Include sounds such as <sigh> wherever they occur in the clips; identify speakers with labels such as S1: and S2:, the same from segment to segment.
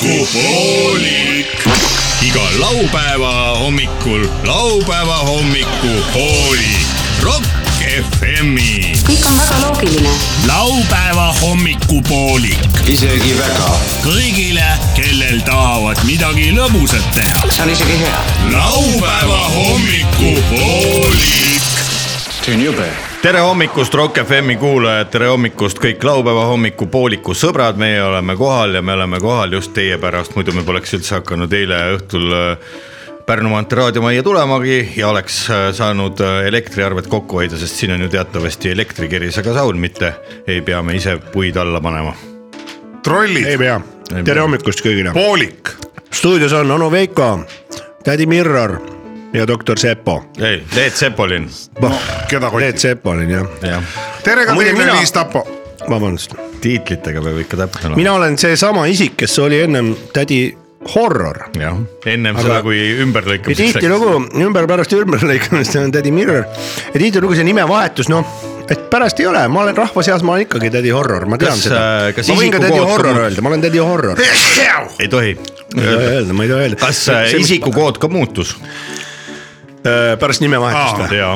S1: hommikupoolik . iga laupäeva hommikul laupäeva hommikupoolik . Rock FM-i .
S2: kõik on väga loogiline .
S1: laupäeva hommikupoolik
S3: isegi väga .
S1: kõigile , kellel tahavad midagi lõbusat teha .
S3: see on isegi hea .
S1: laupäeva hommikupoolik .
S3: see on jube .
S4: tere hommikust , Rock FM-i kuulajad , tere hommikust kõik laupäeva hommikupooliku sõbrad , meie oleme kohal ja me oleme kohal just teie pärast , muidu me poleks üldse hakanud eile õhtul äh, Pärnu maantee raadiomajja tulemagi ja oleks äh, saanud äh, elektriarvet kokku hoida , sest siin on ju teatavasti elektrikerisega saun , mitte ei pea me ise puid alla panema .
S5: trollid ,
S6: ei pea , tere hommikust kõigile .
S5: poolik ,
S6: stuudios on onu Veiko , tädi Mirror ja doktor Sepo .
S4: ei , Leet Sepolin ,
S5: keda
S6: Leet
S5: kotid .
S6: Sepolin jah ,
S4: jah ,
S5: tere ka
S6: Muide,
S5: teile ,
S6: mina-
S5: Liis Tapo .
S6: vabandust .
S4: tiitlitega peab ikka täpne olema .
S6: mina olen seesama isik , kes oli ennem tädi Horror .
S4: jah , ennem
S6: Aga-
S4: seda , kui
S6: ja
S4: ümberlõikamiseks
S6: tiitlilugu ümber pärast ümberlõikamist on tädi Mirror ja tiitlilugu see nimevahetus , noh , et pärast ei ole , ma olen rahva seas , ma olen ikkagi tädi Horror , ma tean
S4: Kas,
S6: seda
S4: äh, . kas
S6: ma võin ka
S4: isiku
S6: tädi
S4: kood ka
S6: Horror
S4: muutub?
S6: öelda , ma olen tädi Horror .
S4: ei tohi .
S6: ma ei tohi öelda , ma ei tohi öelda .
S4: kas äh, ? isikukood ka muutus ?
S6: Äh, pärast nimevahetust
S5: Aa.
S6: või ?
S4: jaa ,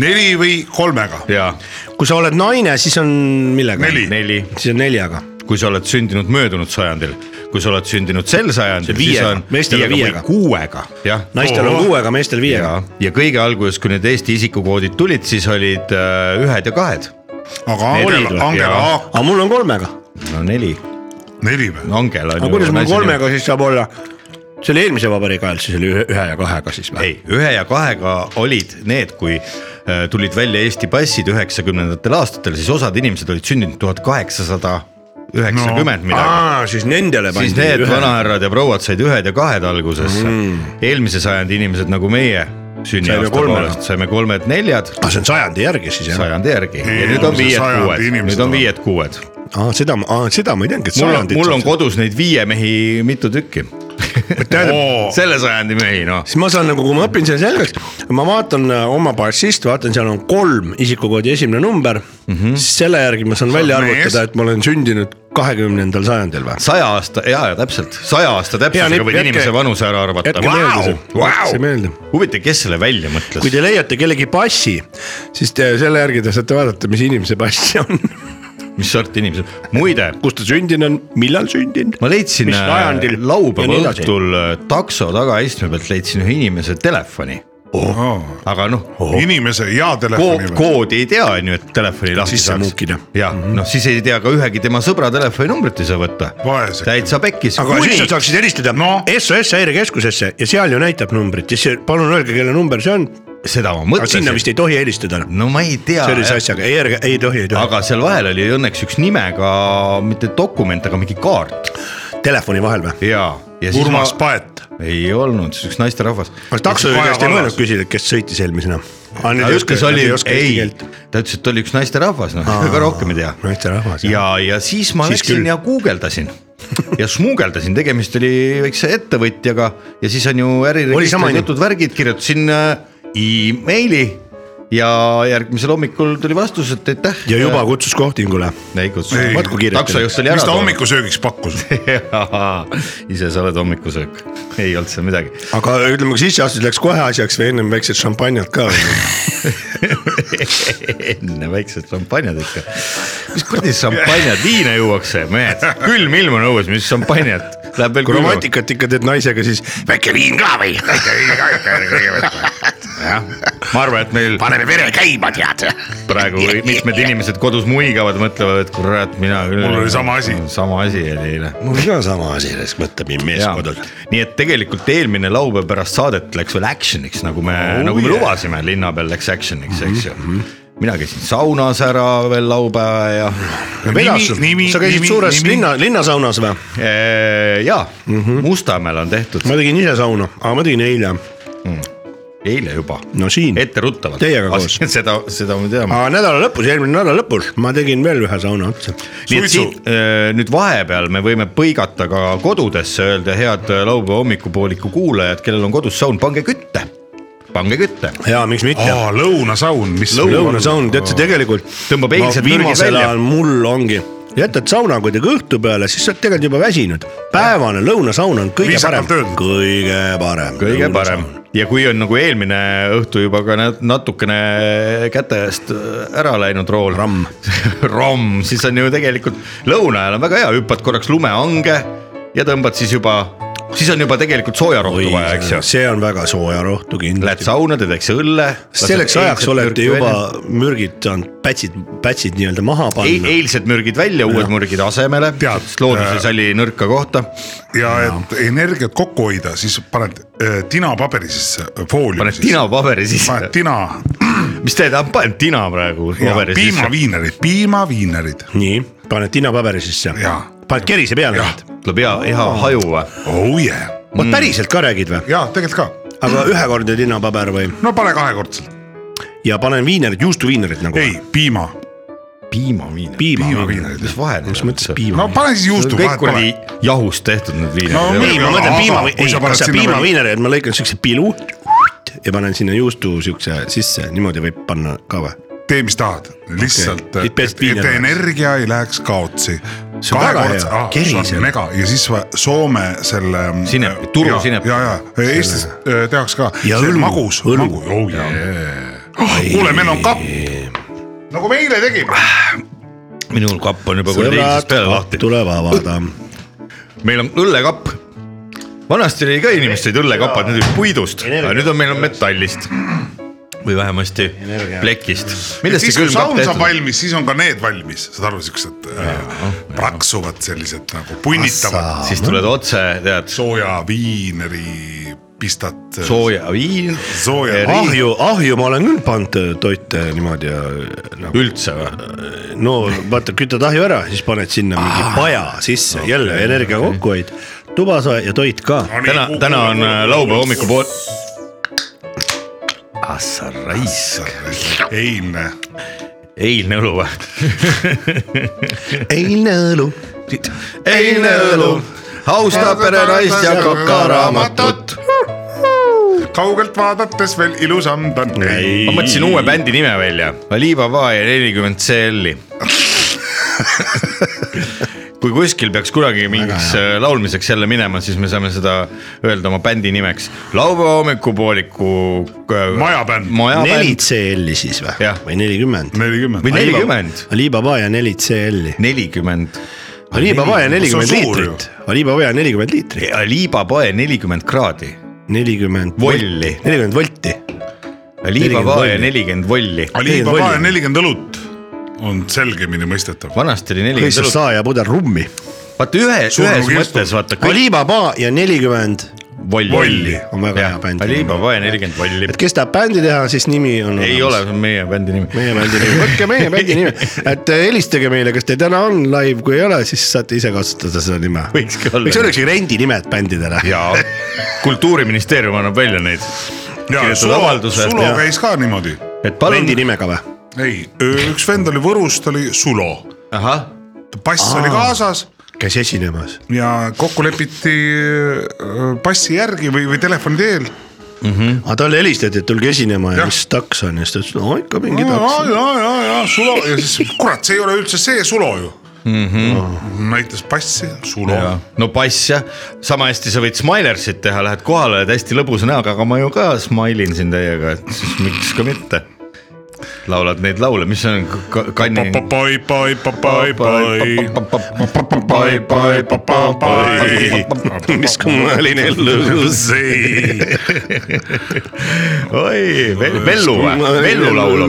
S5: neli või kolmega ?
S4: jaa
S6: kui sa oled naine , siis on millega ?
S5: Neli.
S4: neli ,
S6: siis on neljaga .
S4: kui sa oled sündinud möödunud sajandil , kui sa oled sündinud sel sajandil , siis
S6: viiega.
S4: on
S6: Meestel on
S4: või
S6: viiega.
S4: kuuega , jah .
S6: naistel on
S5: Ohoh.
S6: kuuega , meestel viiega .
S4: ja kõige alguses , kui need Eesti isikukoodid tulid , siis olid äh, ühed ja kahed .
S5: aga
S4: Neli
S5: Angela ,
S4: või?
S5: Angela
S4: Jaa.
S5: Haak ,
S6: aga mul on kolmega .
S4: no neli ,
S5: neli või ?
S4: Angela .
S6: aga kuidas mul kolmega siis saab olla ? see oli eelmise vabariigi ajal , siis oli ühe , ühe ja kahega siis või ?
S4: ei , ühe ja kahega olid need , kui äh, tulid välja Eesti passid üheksakümnendatel aastatel , siis osad inimesed olid sündinud tuhat kaheksasada üheksakümmend midagi .
S6: aa , siis nendele
S4: siis need ühe. . vanahärrad ja prouad said ühed ja kahed algusesse mm. . eelmise sajandi inimesed nagu meie
S6: Saime
S4: sünniaasta
S6: kolmega.
S4: poolest saime kolmed-neljad
S6: aa , Ah, see on sajandi järgi siis jah ?
S4: sajandi järgi ja
S5: Ei,
S4: nüüd on
S5: see sajandi
S4: viied-kuued ,
S5: inimesed
S4: nüüd on
S5: on.
S4: viied-kuued .
S6: aa , seda , aa seda ma ei teadnudki , et
S4: mul on ,
S6: sajandit .
S4: mul on . kodus neid viie mehi mitu tükki .
S5: Oo.
S4: <laughs> selle sajandi mehi noh ,
S6: siis ma saan nagu , kui ma õpin selle selgeks , ma vaatan äh, oma passist , vaatan , seal on kolm isikukoodi esimene number mm . -hmm. siis selle järgi ma saan välja
S5: oled
S6: arvutada ,
S5: mees.
S6: et ma olen sündinud kahekümnendal sajandil või ?
S4: saja aasta ja , ja täpselt saja aasta
S6: nipp,
S4: täpsusega võid
S6: jätke-
S4: inimese vanuse ära
S6: jätke meelde see. Jätke see
S4: arvata
S6: meelde. .
S4: huvitav , kes selle välja mõtles
S6: kui ? te leiate kellegi passi , siis te selle järgi te saate vaadata , mis inimese pass see on , <laughs>
S4: mis sorti inimesed , muide
S6: kus ta sündinud on , millal sündinud .
S4: ma leidsin
S6: Mis
S4: äh,
S6: ajandil ja
S4: laupäeva
S6: nii edasi.
S4: õhtul äh, takso tagaistme pealt leidsin ühe inimese telefoni . aga noh ko ,
S5: inimese ja telefoni või ?
S4: koodi ei tea , on ju , et telefoni lahti
S6: Sisse muukida. Mhm.
S4: ja noh , siis ei tea ka ühegi tema sõbra telefoninumbrit ei saa võtta .
S5: Vaesed.
S4: täitsa pekkis .
S6: aga Kuni. siis sa saaksid helistada no. SOS häirekeskusesse ja seal ju näitab numbrit ja siis palun öelge , kelle number see on ,
S4: seda ma
S6: aga sinna vist
S4: mõtlesin .
S6: ei tohi helistada .
S4: no ma ei tea .
S6: sellise asjaga , ei , ei tohi , ei tohi aga... ,
S4: aga seal vahel oli õnneks üks nimega , mitte dokument , aga mingi kaart
S6: telefoni vahel või ?
S4: ja , ja siis
S5: Urmas
S4: ma ,
S5: Paet ,
S4: ei olnud , siis üks naisterahvas .
S6: kas taksojuhi
S5: Kaja
S6: käest ei
S5: Kallas.
S6: mõelnud küsida , kes sõitis eelmisena ?
S4: ta ütles , oli , ei , ta ütles , et oli üks naisterahvas , noh , ega rohkem ei tea .
S6: naisterahvas .
S4: ja , ja siis ma
S6: Siis
S4: siis läksin
S6: küll.
S4: küll. ja guugeldasin ja smuugeldasin , tegemist oli väikse ettevõtjaga ja siis on ju
S6: Oli sama
S4: äriregistri
S6: inimene?
S4: jutud , värgid , kirjutasin äh, emaili ja järgmisel hommikul tuli vastus , et aitäh .
S6: ja juba kutsus kohtingule .
S4: ei kutsu
S5: Ei. .
S6: Vaat kui kirjutanud.
S4: taksojuht oli ära .
S5: mis ta ?
S4: <laughs>
S5: hommikusöögiks pakkus ?
S4: ise sa oled hommikusöök , ei olnud seal midagi .
S6: aga ütleme , kas sisseastus läks kohe asjaks või ennem väiksed šampanjad ka või ?
S4: <laughs> enne väiksed šampanjad ikka . mis kuradi šampanjad , viina juuakse , mehed , külm ilm on õues , mis šampanjat , läheb veel
S6: kui romantikat ikka teed naisega , siis väike viin ka või ?
S4: jah , ma arvan , et meil
S7: paneme vere käima , tead .
S4: praegu mitmed inimesed kodus muigavad , mõtlevad , et kurat , mina küll .
S5: Mul oli sama asi.
S4: sama asi oli eile .
S6: mul ka sama asi , siis mõtleb nii mees
S4: jaa , nii et tegelikult eelmine laupäev pärast saadet läks veel action'iks , nagu me oh, , nagu me yeah. lubasime , linna peal läks action'iks , eks ju mm . -hmm. mina käisin saunas ära veel laupäeva ja ,
S6: vedas sul , sa käisid suures nimi. linna , linnasaunas või ?
S4: ja mm -hmm. Mustamäel on tehtud
S6: Mhm. ma tegin ise sauna , aga ma tegin eile ,
S4: eile juba ,
S6: no siin .
S4: etteruttavalt .
S6: Teiega koos. .
S4: <laughs>
S6: Ah,
S4: seda , seda me teame .
S6: aga nädala lõpus , eelmine nädala lõpus ma tegin veel ühe sauna otsa .
S4: nii et
S5: Suitsu.
S4: siin öö, nüüd vahepeal me võime põigata ka kodudesse , öelda head äh, laupäeva hommikupooliku kuulajad , kellel on kodus saun , pange kütte , pange kütte .
S6: ja miks mitte .
S5: aa , lõunasaun , mis .
S6: lõunasaun , tead sa tegelikult .
S4: Tõmbab eilsed nurgid
S6: viimasel
S4: välja.
S6: ajal mul ongi jätad sauna kuidagi õhtu peale , siis sa oled tegelikult juba väsinud . päevane lõunasaun on kõige
S2: Viisakalt
S6: parem
S2: öeldud. ,
S6: kõige parem .
S4: kõige parem . ja kui on nagu eelmine õhtu juba ka nat- natukene käte eest ära läinud rool . <laughs>
S6: Ramm.
S4: ramm , siis on ju tegelikult lõuna ajal on väga hea , hüppad korraks lumehange ja tõmbad siis juba , siis on juba tegelikult sooja rohtu vaja , eks ju .
S6: see on väga sooja rohtu
S4: Lähed
S6: kindlasti .
S4: sauna , teedakse õlle .
S6: selleks ajaks olete juba mürgid saanud , pätsid , pätsid nii-öelda maha
S4: Ei-
S6: panna .
S4: E- eilsed mürgid välja , uued mürgid asemele ,
S2: Tead,
S4: sest looduses
S2: äh,
S4: oli nõrka kohta ,
S2: ja et energiat kokku hoida , siis paned äh, tina paberi sisse , fooliumi
S4: paned
S2: sisse.
S4: tina paberi
S2: paned
S4: sisse ,
S2: tina
S4: mis te tahate , panen tina praegu
S2: ja
S4: paberi sisse ,
S2: piimaviinerid , piimaviinerid
S6: nii , paned tinapaberi sisse
S2: Jaa. .
S6: paned kerise peale
S2: Jah. .
S4: tuleb hea , hea haju või ?
S2: oh yeah. .
S6: vot päriselt ka räägid või ?
S2: ja tegelikult ka ,
S6: aga ühekordne tinapaber või ?
S2: no pane kahekordselt ,
S6: ja panen viinerit , juustuviinerit nagu .
S2: ei piima ,
S4: piimaviin .
S6: piima .
S2: piimaviinerid .
S4: mis vahe neil
S6: mis mõttes ?
S2: no
S6: piima ?
S2: pane siis juustu
S4: kõik
S2: vahet pole
S4: kuradi , jahust tehtud need
S2: No
S6: ei ,
S4: viinerid
S2: muidugi.
S6: ma mõtlen
S2: Aga
S6: piima ,
S2: kui
S6: ei
S2: sa , paned
S6: kas sa
S2: sinna
S6: piimaviinerit , ma lõikan siukse pilu ja panen sinna juustu siukse sisse , niimoodi võib panna ka või ?
S2: tee , mis tahad , lihtsalt okay. ,
S6: Ei peast
S2: et,
S6: viina
S2: et
S6: läheks.
S2: energia ei läheks kaotsi .
S6: See on väga hea. Kerisele.
S2: mega ja siis va- Soome selle . äh,
S4: Sinepi, Turu sinepi.
S2: ja , ja Eestis äh, tehakse ka .
S6: Ja õlu,
S2: magus ,
S6: õlu.
S2: magus , oh jaa . kuule , meil on kapp , nagu me eile tegime .
S6: Ah,
S4: minul kapp on juba kuradi eilsest peale lahti .
S6: tuleb avada .
S4: meil on õllekapp . vanasti oli ka inimestel õllekapad , need olid puidust , aga nüüd on meil on metallist või vähemasti plekist . millest
S2: siis
S4: see
S2: kui
S4: külm kapp
S2: saun saab
S4: tehtud on ?
S2: valmis , siis on ka need valmis , saad aru , siuksed äh, praksuvad sellised nagu punnitavad
S4: siis tuled otse , tead ,
S2: soojaviineri pistad .
S4: sooja viin ,
S2: äh, sooja
S4: Eri-
S2: viin ,
S6: ahju , ahju ma olen küll pannud äh, toite niimoodi ja nagu
S4: üldse või ?
S6: no vaata , kütad ahju ära , siis paned sinna mingi paja sisse okay. , jälle energia kokkuhoid , tubasoe ja toit ka .
S4: täna , täna on äh, laupäeva hommikupool . ah sa raisk ,
S2: Ah, eilne
S4: eilne õlu või ?
S6: eilne õlu .
S4: eilne õlu , austab perenaist ja kokaraamatut .
S2: kaugelt vaadates veel ilusam ta on .
S4: ma mõtlesin uue bändi nime välja , Alibaba ja nelikümmend CL-i . <laughs> kui kuskil peaks kunagi mingiks äh, laulmiseks jälle minema , siis me saame seda öelda oma bändi nimeks . laupäeva hommikupooliku .
S2: Majabänd.
S6: neli
S4: majabänd ,
S6: CL-i siis või
S4: Jah. ?
S6: või nelikümmend ?
S2: nelikümmend
S4: Või- . nelikümmend.
S6: Alibaba ja neli CL-i .
S4: nelikümmend .
S6: Alibaba ja
S2: see on
S6: nelikümmend
S2: suur
S6: liitrit . Alibaba ja nelikümmend liitrit .
S4: Alibaba ja nelikümmend kraadi .
S6: nelikümmend .
S4: Volli.
S6: nelikümmend volti .
S4: Alibaba ja
S6: 40 volli.
S4: nelikümmend volli .
S2: Alibaba
S6: Nelikümmend
S2: ja nelikümmend õlut on selgemini mõistetav .
S4: vanasti oli
S6: kõik see
S4: nelikümmend .
S6: saajapuder rummi .
S4: vaata ühe , ühes
S2: Surnukistu.
S4: mõttes vaata kõik
S6: Alibaba ja nelikümmend ,
S4: volli,
S2: Volli.
S6: On väga hea bänd.
S4: Alibaba ja nelikümmend volli .
S6: et kes tahab bändi teha , siis nimi on .
S4: ei ole , see on meie bändi nimi .
S6: meie bändi nimi , võtke meie bändi nimi , et äh, helistage meile , kas teil täna on live , kui ei ole , siis saate ise kasutada seda nime .
S4: Võiks ka olla.
S6: võiks olla üks rendinimed bändidele .
S4: ja kultuuriministeerium annab välja neid , kirjutad avalduse,
S2: Sulo
S4: jah.
S2: käis ka niimoodi .
S4: et palun
S6: bändi . nimega või ?
S2: ei , üks vend oli Võrust , oli Sulo ,
S4: ahah ,
S2: pass oli kaasas
S6: käis esinemas .
S2: ja kokku lepiti äh, passi järgi või , või telefoni teel .
S6: aga Ah, talle helistati , et tulge esinema ja
S2: Jah.
S6: mis taks on ja siis ta ütles , no ikka mingi
S2: ja ,
S6: taks .
S2: ja , ja , ja Sulo ja siis kurat , see ei ole üldse see Sulo ju mm .
S4: Mhm.
S2: -hmm. näitas passi , Sulo
S4: ja no pass jah , sama hästi sa võid Smilersit teha , lähed kohale , oled hästi lõbusa näoga , aga ma ju ka smile in siin teiega , et siis miks ka mitte . laulad neid laule , mis on k- k- kanni .
S2: papai , pai , papai , pai .
S6: <laughs> mis kummaline ellus .
S4: oi , Vellu või , Vellu laulab .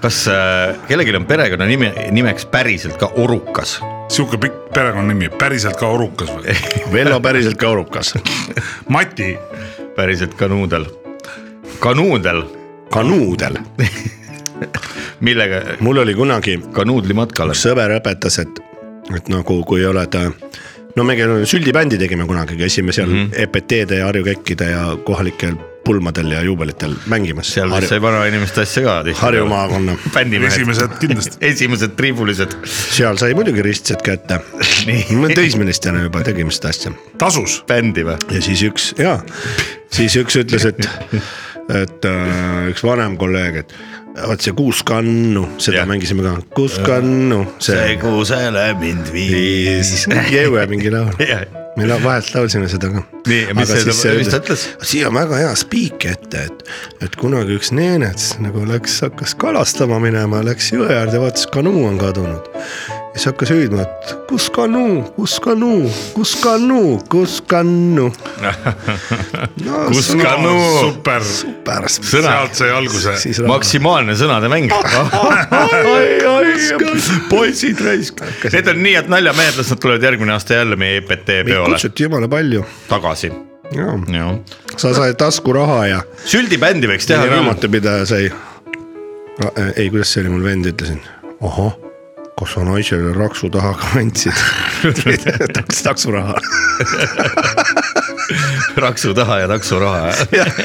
S4: kas äh, kellelgi on perekonnanimi , nimeks päriselt ka Orukas ?
S2: sihuke pikk perekonnanimi , päriselt ka orukas või ?
S6: Vello päriselt kaurukas .
S2: Mati ,
S4: päriselt kanuudel , kanuudel ,
S6: kanuudel ,
S4: millega
S6: mul oli kunagi
S4: kanuudlimatkale ,
S6: sõber õpetas , et , et nagu kui oled , no me käime- süldibändi tegime kunagi , käisime seal
S4: Mhm.
S6: mm -hmm. EPT-de ja Harju kekkide ja kohalikel pulmadel ja juubelitel mängimas .
S4: seal vist sai
S6: Harju,
S4: vanainimeste asja ka tihti .
S6: Harju . maakonna ,
S4: bändimehed ,
S2: esimesed kindlasti .
S4: <laughs> esimesed triibulised .
S6: seal sai muidugi ristsed kätte . me teismelistena juba tegime seda asja
S2: tasus ,
S4: bändi või ?
S6: ja siis üks ja siis üks ütles , et , et äh, üks vanem kolleeg , et vot see Kuus kannu , seda
S4: Jah.
S6: yeah. mängisime ka , Kuus kannu , see
S4: kuusele mind
S6: viis . jõue mingi laul , me la- vahelt laulsime seda ka .
S4: Nii, ja mis see- mis ta ütles? ?
S6: siia on väga hea spiik ette , et , et kunagi üks neenets nagu läks , hakkas kalastama minema , läks jõe äärde , vaatas , kanuu on kadunud . ja siis hakkas hüüdma , et kus kanuu , kus kanuu , kus kanuu , kus
S4: <laughs>
S6: kannu no, .
S4: Kus kanuu?
S5: super ,
S6: super
S4: Sõna.
S5: sealt sai alguse .
S6: siis <laughs>
S4: maksimaalne sõnade mäng . poisid raisk . Need on nii head naljamehed , las nad tulevad järgmine aasta jälle meie EPT
S6: meid
S4: peole
S6: kutsuti jumala palju .
S4: tagasi . jah .
S6: sa said taskuraha ja
S4: süldibändi võiks teha
S6: nii
S4: küll .
S6: raamatupidaja sai . ei , kuidas see oli , mul vend ütlesin , ahah , kas sa naisele raksu taha ka
S4: <laughs>
S6: andsid ? takso , taksuraha .
S4: raksu taha ja takso raha .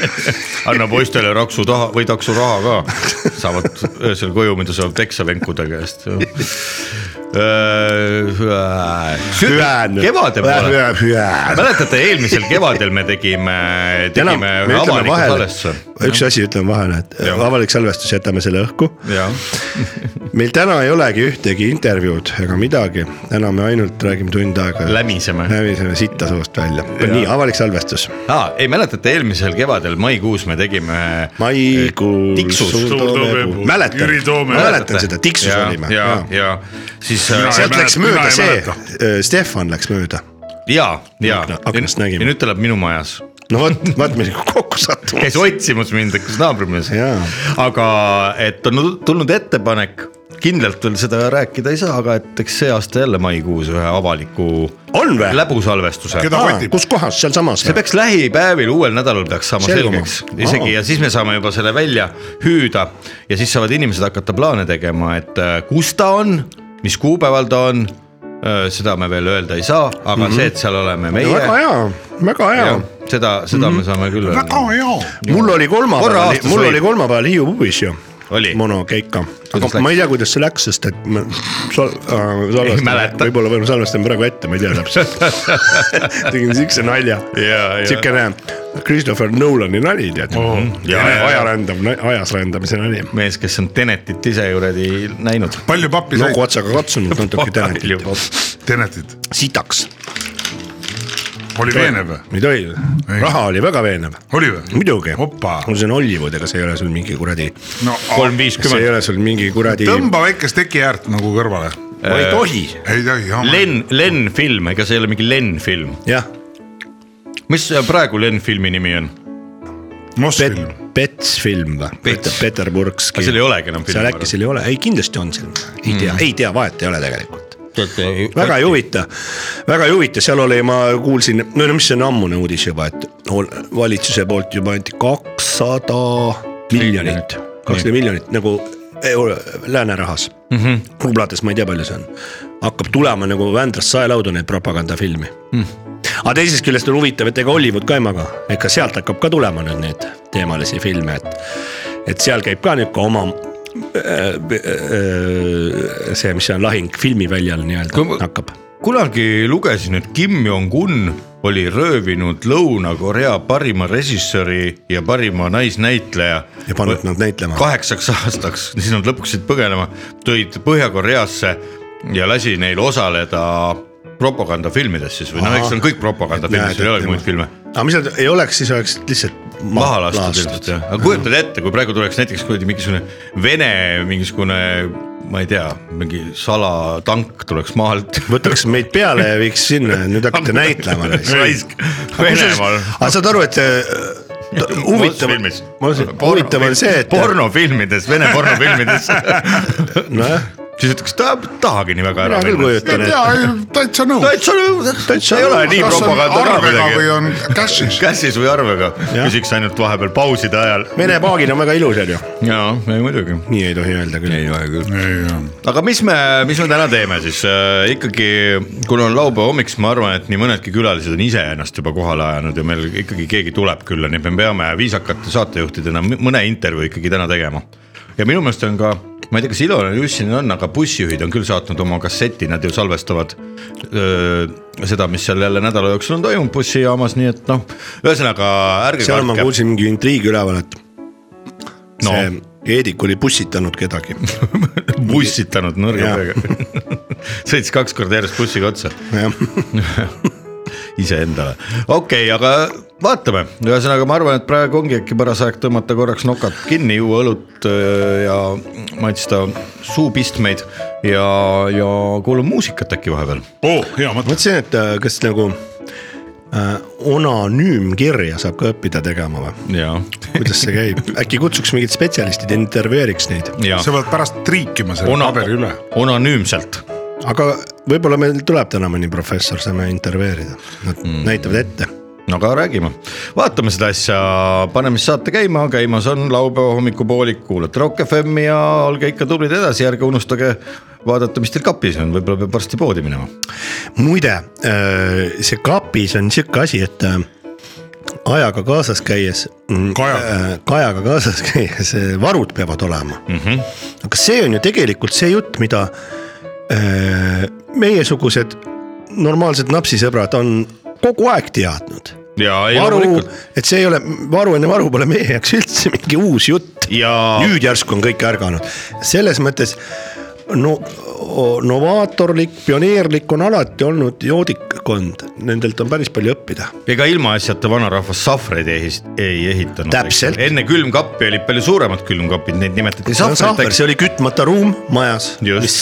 S4: <laughs> anna poistele raksu taha või takso raha ka . saavad öösel koju , mida saavad peksa venkude käest . Äh, kevade poole .
S6: poole .
S4: äh. mäletate , eelmisel kevadel me tegime ,
S6: enam ,
S4: tegime
S6: me
S4: ühe
S6: ütleme
S4: avaliku
S6: vahele
S4: salvestuse .,
S6: üks asi ütleme vahele , et äh,
S4: Jah.
S6: avalik salvestus , jätame selle õhku .
S4: jah ,
S6: meil täna ei olegi ühtegi intervjuud ega midagi , täna me ainult räägime tund aega .
S4: lämiseme .
S6: läbiseme sitta suust välja , nii avalik salvestus .
S4: aa , ei mäletate , eelmisel kevadel maikuus me tegime ühe
S6: maikuu .
S4: Tiksus.
S5: Suur Toomepuu.
S6: mäletan
S5: Jüri , Toome.
S6: mäletan seda , tiksus
S4: ja,
S6: olime .
S4: ja , ja siis
S5: Mina
S4: äh,
S5: ei
S6: sealt
S5: mäleta,
S6: läks
S5: mina
S6: mööda
S5: ei
S6: see Äh,
S5: mäleta. ,
S6: Stefan läks mööda .
S4: ja , ja
S6: Akna- aknast
S4: ja
S6: nägime.
S4: nüüd ta elab minu majas ,
S6: no vot , vaat me nagu kokku
S4: käis
S6: sattume .
S4: otsimas mind , hakkas naabrimees
S6: Jaa. .
S4: aga et on tulnud ettepanek , kindlalt veel seda rääkida ei saa , aga et eks see aasta jälle maikuus ühe avaliku
S6: on või ?
S4: läbusalvestuse .
S5: keda kotib ?
S6: kus kohas , sealsamas
S4: see ? peaks lähipäevil , uuel nädalal peaks saama
S6: Selguma.
S4: selgeks isegi
S6: Aa.
S4: ja siis me saame juba selle välja hüüda ja siis saavad inimesed hakata plaane tegema , et äh, kus ta on , mis kuupäeval ta on . seda me veel öelda ei saa , aga mm -hmm. see , et seal oleme meie ,
S6: Mhm. väga hea , väga hea . Mhm.
S4: seda , seda mm -hmm. me saame küll
S5: väga
S4: öelda .
S5: hea .
S6: mul oli
S4: Korra
S6: kolmapäeval
S4: aastas ,
S6: mul
S4: võib.
S6: oli kolmapäeval Hiiu pubis ju .
S4: Oli.
S6: monokeika , aga
S4: Kuidas läks?
S6: ma ei tea , kuidas see läks , sest et me sal- , salvestame ,
S4: mäleta.
S6: võib-olla me salvestame praegu ette , ma ei tea
S4: <laughs>
S6: täpselt . tegin siukse nalja ,
S4: Jaa, jaa.
S6: siukene Christopher Nolan'i nali , tead oh, .
S4: jaa, jaa.
S6: aja rändam , ajas rändamise nali
S4: mees , kes on Tenetit ise kuradi näinud .
S5: palju pappi sai
S6: nogu ? otsaga katsunud natuke Tenetit ,
S5: Tenetit ,
S6: sitaks ,
S5: oli veenev või ?
S6: ei tohi , raha oli väga veenev ,
S5: oli või ?
S6: muidugi ,
S5: Opa.
S6: no see on Hollywood , ega see ei ole sul mingi kuradi ,
S5: no
S4: kolm
S6: see ei
S4: viiskümmend .
S6: ole sul mingi kuradi ,
S5: tõmba väikest tekiäärt nagu kõrvale .
S6: ma ei tohi ,
S5: ei tohi ,
S4: Len , Len film , ega see ei ole mingi Len film ,
S6: jah ,
S4: mis äh, praegu Len filmi nimi on ?
S6: Pet-
S5: Mosfilm ,
S6: Pets film või ,
S4: Pets.
S6: Peterburgski ,
S4: aga seal ei olegi enam filmi . Mm.
S6: seal äkki seal ei ole , ei kindlasti on seal , ei tea , ei tea , vahet ei ole tegelikult väga ei huvita , väga ei huvita , seal oli , ma kuulsin , no no mis see on ammune uudis juba , et ol- valitsuse poolt juba anti kakssada miljonit , kakssada miljonit nagu euro- läänerahas mm .
S4: Mhm.
S6: -hmm. rublates ma ei tea , palju see on , hakkab tulema nagu Vändrast saelaudu neid propagandafilmi mm. . aga teisest küljest on huvitav , et ega Hollywood ka ei maga , ega sealt hakkab ka tulema nüüd neid teemalisi filme , et , et seal käib ka nihuke oma äh, äh, see , mis see on lahing filmiväljal
S4: Kui ma-
S6: nii-öelda hakkab
S4: kunagi lugesin , et Kim Jong-un oli röövinud Lõuna-Korea parima režissööri ja parima naisnäitleja
S6: ja pannud nad näitlema .
S4: kaheksaks aastaks , siis nad lõpuks jäid põgenema , tõid Põhja-Koreasse ja lasi neil osaleda propagandafilmides siis või noh ,
S6: Ahah.
S4: eks see on kõik propagandafilmid ,
S6: Näed,
S4: seal ei
S6: et
S4: olegi muid
S6: tema-
S4: filme .
S6: aga mis nad ei oleks , siis oleks lihtsalt
S4: maha lastud ilmselt jah , aga kujutad ette , kui praegu tuleks näiteks kuradi mingisugune Vene mingisugune , ma ei tea , mingi salatank tuleks maalt .
S6: võtaks meid peale ja viiks sinna , nüüd
S4: <laughs>
S6: hakkate näitlema .
S4: raisk , Venemaal .
S6: aga saad aru , et äh, ta- huvitav , huvitav on see , et
S4: pornofilmides , Vene pornofilmides
S6: nojah ,
S4: siis ütleks , ta ei tahagi nii väga ära
S6: mina küll kujutan ,
S5: jaa , täitsa nõus .
S4: täitsa nõus ,
S6: Täitsa
S4: ei ole
S6: nõus.
S4: nii
S5: kas on
S4: propaganda ka
S5: arvega või
S4: midagi .
S5: on <laughs> cash'is ?
S4: Käsis või arvega , küsiks ainult vahepeal pauside ajal .
S6: et Vene paagid on väga ilusad ju ,
S4: jaa , ei muidugi .
S6: nii ei tohi öelda küll .
S4: ole küll . aga mis me , mis me täna teeme siis äh, ikkagi , kuna on laupäeva hommik , siis ma arvan , et nii mõnedki külalised on ise ennast juba kohale ajanud ja meil ikkagi keegi tuleb külla , nii et me peame viisakate saatejuhtidena mõ- mõne intervjuu ikkagi täna tegema . ja minu meelest on ka , ma ei tea , kas Ilona Jussinil on , aga bussijuhid on küll saatnud oma kasseti , nad ju salvestavad öö, seda , mis seal jälle nädala jooksul on toimunud bussijaamas , nii et noh , ühesõnaga ärge
S6: seal ma
S4: kartke .
S6: kuulsin mingi intriigi üleval , et
S4: No.
S6: see Eedik oli pussitanud kedagi .
S4: <laughs> bussitanud nõrga peaga . <laughs> sõitis kaks korda järjest bussiga otsa iseendale , okei okay, , aga vaatame , ühesõnaga ma arvan , et praegu ongi äkki paras aeg tõmmata korraks nokad kinni , juua õlut öö, ja maitsta suupistmeid ja , ja kuulame muusikat äkki vahepeal .
S5: oo , Oh, hea mõte .
S6: mõtlesin , et äh, kas nagu äh, onanüümkirja saab ka õppida tegema või ?
S4: ja ,
S6: kuidas see käib , äkki kutsuks mingid spetsialistid , intervjueeriks neid ,
S4: ja
S5: sa pead pärast triikima selle
S4: Ona-
S5: paberi üle .
S4: onanüümselt ,
S6: aga võib-olla meil tuleb täna mõni professor , saame intervjueerida , nad mm. näitavad ette .
S4: no aga räägime , vaatame seda asja , paneme siis saate käima , käimas on laupäeva hommikupoolik , kuulate Rock FM-i ja olge ikka tublid edasi , ärge unustage vaadata , mis teil kapis on , võib-olla peab varsti poodi minema .
S6: muide , see kapis on sihuke asi , et äh, ajaga kaasas käies ,
S5: Kajaga.
S6: kajaga kaasas <laughs> käies äh, varud peavad olema mm .
S4: Mhm.
S6: -hmm. aga see on ju tegelikult see jutt , mida äh, meiesugused normaalsed napsisõbrad on kogu aeg teadnud
S4: ja ei
S6: varu
S4: loomulikult ,.
S6: et see ei ole , varu enne varu pole meie jaoks üldse mingi uus jutt .
S4: ja
S6: nüüd järsku on kõik ärganud , selles mõttes no o- novaatorlik , pioneerlik on alati olnud joodikkond , nendelt on päris palju õppida .
S4: ega ilmaasjata vanarahvas sahvreid ei, ehis- ei ehitanud .
S6: Täpselt.
S4: enne külmkappi olid palju suuremad külmkapid , neid nimetati
S6: sahver ,
S4: sahvriteks .
S6: see oli kütmata ruum majas ,
S4: Just.
S6: mis ,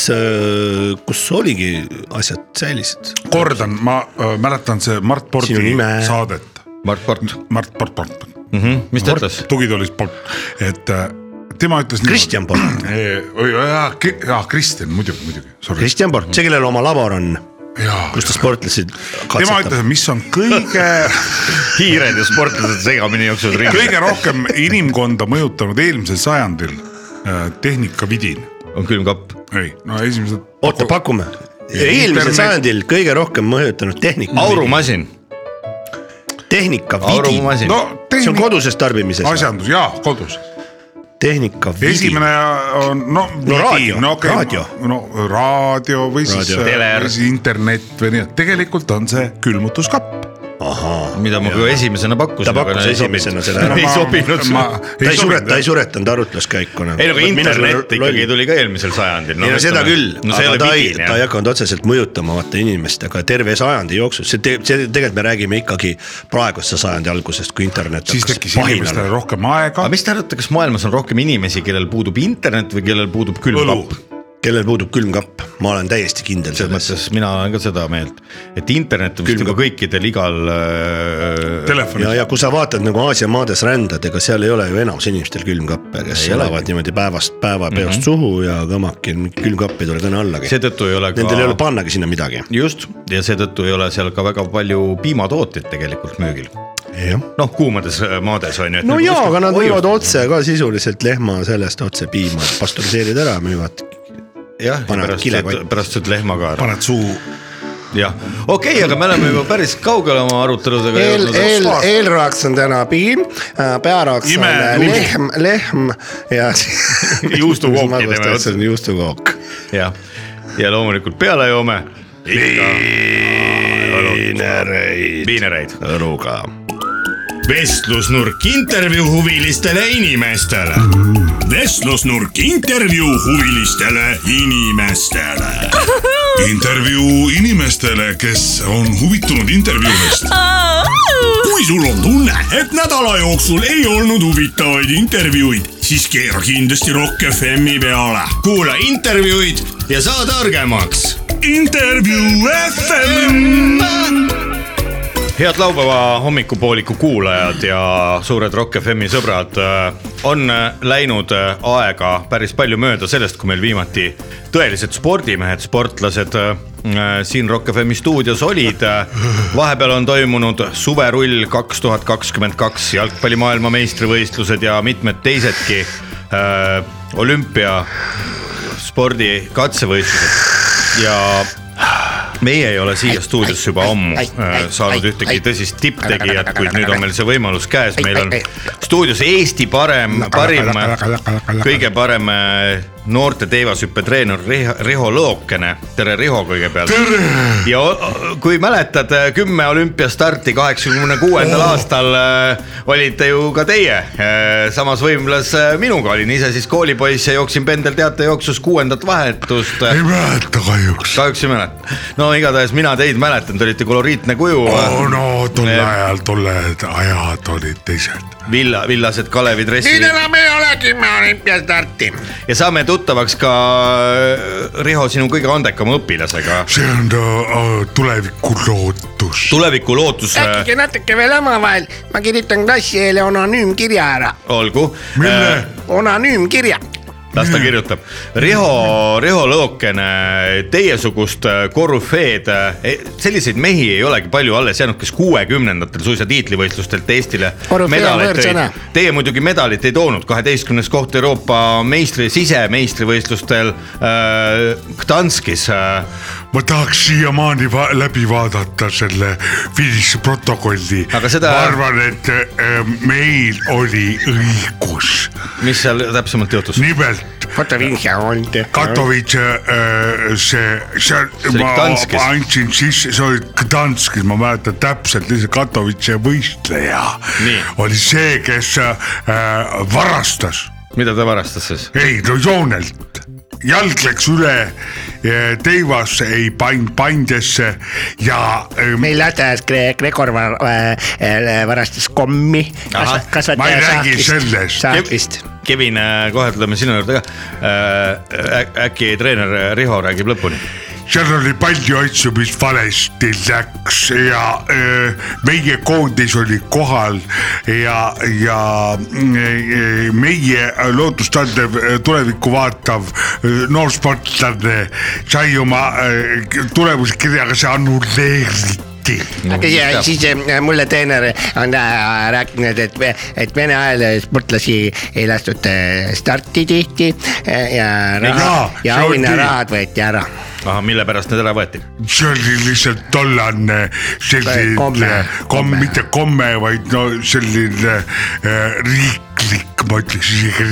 S6: kus oligi asjad säilisid .
S5: kordan , ma öö, mäletan see Mart
S6: Sinu
S5: Porti
S6: nime.
S5: saadet .
S4: Mart Port ,
S5: Mart Port , Port ,
S4: mis ta ütles ?
S5: tugitoolis Port , et äh, tema ütles .
S6: Kristjan
S5: <clears throat>
S6: Port ,
S5: jah , jah , Kristjan muidugi , muidugi , sorry .
S6: Kristjan Port , see , kellel oma labor on ,
S5: jaa ,
S6: kus ta sportlasid
S5: tema
S6: katsetab
S5: ütles ,. mis on
S6: <laughs>
S5: kõige
S4: hiired ja sportlased segamini jooksevad ringi .
S5: kõige rohkem inimkonda mõjutanud eelmisel sajandil äh, tehnikavidin .
S4: on külmkapp .
S5: ei , no esimesed .
S6: oota , pakume . eelmisel
S5: Internet-
S6: sajandil kõige rohkem mõjutanud tehnika .
S4: aurumasin ,
S6: tehnika vidin .
S4: aurumasin
S5: no
S4: no. .
S6: see on
S5: tehnika ,
S6: koduses tarbimises .
S5: asjandus jaa , kodus .
S6: tehnika vidin .
S5: esimene on no .
S6: No raadio,
S5: no, okei,
S6: raadio.
S5: no raadio või siis
S6: Raadio.
S5: äh,
S4: Teler.
S5: või siis internet või nii , tegelikult on see külmutuskapp .
S4: mida ma ju esimesena pakkusin .
S6: Ta pakkus esimesena selle ära.
S4: <laughs> ei sobinud
S5: ma
S4: sulle .
S6: ta ei sureta , ta ei suretanud arutluskäiku nagu .
S4: ei no aga internet ikkagi tuli ka eelmisel sajandil .
S6: ei no seda küll
S4: no
S6: no, ,
S4: see ei
S6: aga
S4: ole
S6: ta ei ,
S4: vidin
S6: ta ei
S4: jah .
S6: hakanud otseselt mõjutama vaata inimest , aga terve sajandi jooksul , see te- , see tegelikult me räägime ikkagi praeguse sajandi algusest , kui internet
S5: siis tekkis inimestele rohkem aega
S4: aga . mis te arvate , kas maailmas on rohkem inimesi , kellel puudub internet või kellel puudub külmkapp ?
S6: kellel puudub külmkapp , ma olen täiesti kindel
S4: selles
S6: selles .
S4: mõttes mina olen ka seda meelt , et internet on vist juba kõikidel igal äh,
S6: ja ,
S5: telefonis ,
S6: ja kui sa vaatad nagu Aasia maades rändad , ega seal ei ole ju enamus inimestel külmkappe , kes
S4: Ei Mhm.
S6: elavad niimoodi päevast päeva peost mm -hmm. suhu ja kõmaki , külmkapp ei tule täna allagi .
S4: seetõttu ei ole
S6: Nendel ei ole
S4: ka ,
S6: pannagi sinna midagi .
S4: just , ja seetõttu ei ole seal ka väga palju piimatooteid tegelikult müügil .
S6: jah
S4: noh , kuumades äh, maades on ju .
S6: no
S5: Nagu
S6: jaa , aga nad müüvad . otse ka sisuliselt lehma sellest otse piima , pastoriseerid ära , müüvad .
S4: jah ,
S6: panevad
S4: pärast
S6: kilekotti. ,
S4: pärast sööd lehma ka ära ,
S5: paned suu ,
S4: jah . okei okay, , aga me oleme juba päris kaugele oma aruteludega
S6: eel , eel
S4: jõudnud .,
S6: eelraaks on täna piim , pearaaks on
S5: Ime-
S6: äh, lehm , lehm ja . <laughs>
S5: <laughs>
S4: Juustukooki teeme
S6: otsa . juustukook .
S4: jah , ja loomulikult peale joome
S6: viinereid .
S4: viinereid .
S6: õluga .
S1: vestlusnurk intervjuu huvilistele inimestele . vestlusnurk intervjuu huvilistele inimestele .
S2: intervjuu inimestele , kes on huvitunud intervjuudest .
S1: kui sul on tunne , et nädala jooksul ei olnud huvitavaid intervjuuid , siis keera kindlasti Rock FM-i peale .
S4: kuula intervjuud ja saa targemaks
S1: intervjuu FM .
S4: head laupäeva hommikupooliku kuulajad ja suured Rock FM-i sõbrad . on läinud aega päris palju mööda sellest , kui meil viimati tõelised spordimehed , sportlased äh, siin Rock FM-i stuudios olid . vahepeal on toimunud suverull kaks tuhat kakskümmend kaks jalgpalli maailmameistrivõistlused ja mitmed teisedki äh, olümpia spordi katsevõistlused ja meie ei ole siia stuudiosse juba ammu äh, saanud ühtegi tõsist tipptegijat , kuid nüüd on meil see võimalus käes , meil on stuudios Eesti parem , parim , kõige parem äh, noorte teevashüppetreener Riho, Riho Lõokene , tere Riho kõigepealt . ja o- kui mäletad , kümme olümpiastarti kaheksakümne kuuendal aastal äh, olite ju ka teie äh, samas võimlas äh, minuga , olin ise siis koolipoiss ja jooksin pendelteatejooksus kuuendat vahetust
S2: ei mäleta kahjuks .
S4: kahjuks ei mäleta , no igatahes mina teid mäletan , te olite koloriitne kuju
S2: oo
S4: oh, , no.
S2: no tol
S4: Jah.
S2: ajal , tol ajal ajad olid teised .
S4: villa , villased Kalevi dressid
S2: enam ei ole kümme olümpiastarti .
S4: ja saame tuttavaks ka äh, Riho , sinu kõige andekama õpilasega .
S2: see on äh, tuleviku lootus .
S4: tuleviku lootus ,
S8: rääkige natuke veel omavahel , ma kirjutan klassieele anonüümkirja ära ,
S4: äh, olgu . mille ?
S8: anonüümkirja .
S4: las ta kirjutab . Riho , Riho Lõokene , teiesugust äh, korüfeed , selliseid mehi ei olegi palju alles jäänud , kes kuuekümnendatel suisa tiitlivõistlustelt Eestile
S8: Korüfee on
S4: medaleid tõid
S8: võõrsõna. .
S4: Teie muidugi medalit ei toonud , kaheteistkümnes koht Euroopa meistri , sisemeistrivõistlustel äh, Gdanskis äh, .
S2: ma tahaks siiamaani va läbi vaadata selle finiši protokolli .
S4: Aga seda-
S2: ma arvan , et äh, meil oli õigus .
S4: mis seal täpsemalt juhtus ?
S2: nimelt
S8: Katowice on .
S2: Katowice äh, see , see ,
S4: oli
S2: ma
S4: Gdanskis.
S2: ma andsin sisse , see oli Gdanskis , ma mäletan täpselt , lihtsalt Katowice võistleja
S4: Nii.
S2: oli see , kes äh, varastas ,
S4: mida ta varastas siis ?
S2: ei no joonelt , jalg läks üle äh, teivasse , ei pannud pandesse ja äh,
S8: meil lasteaias Gre- , Gregor var- äh, varastas kommi .
S4: Ahah,
S2: ma ei räägi sellest.
S8: saakist .
S4: Kevin , kohe tuleme sinu juurde ka äh, . äkki treener Riho räägib lõpuni ?
S2: seal oli palju asju , mis valesti läks ja öö, meie koondis oli kohal ja , ja mm, eh, meie lootust andev eh, tulevikku vaatav eh, noorsportlane sai oma eh, tulemuskirjaga see annulleeriti .
S8: aga ja siis äh, mulle treener on äh, rääkinud , et , et Vene ajal äh, sportlasi ei lastud äh, starti tihti äh, ja raha
S2: jaa, ,
S8: ja
S2: see on tühi.
S8: auhinnarahad võeti ära .
S4: ahah , mille pärast need ära võeti ?
S2: see oli lihtsalt tollane selline komme,
S8: Komme.
S2: komme , mitte komme , vaid no selline eh, riiklik , ma ütleks isegi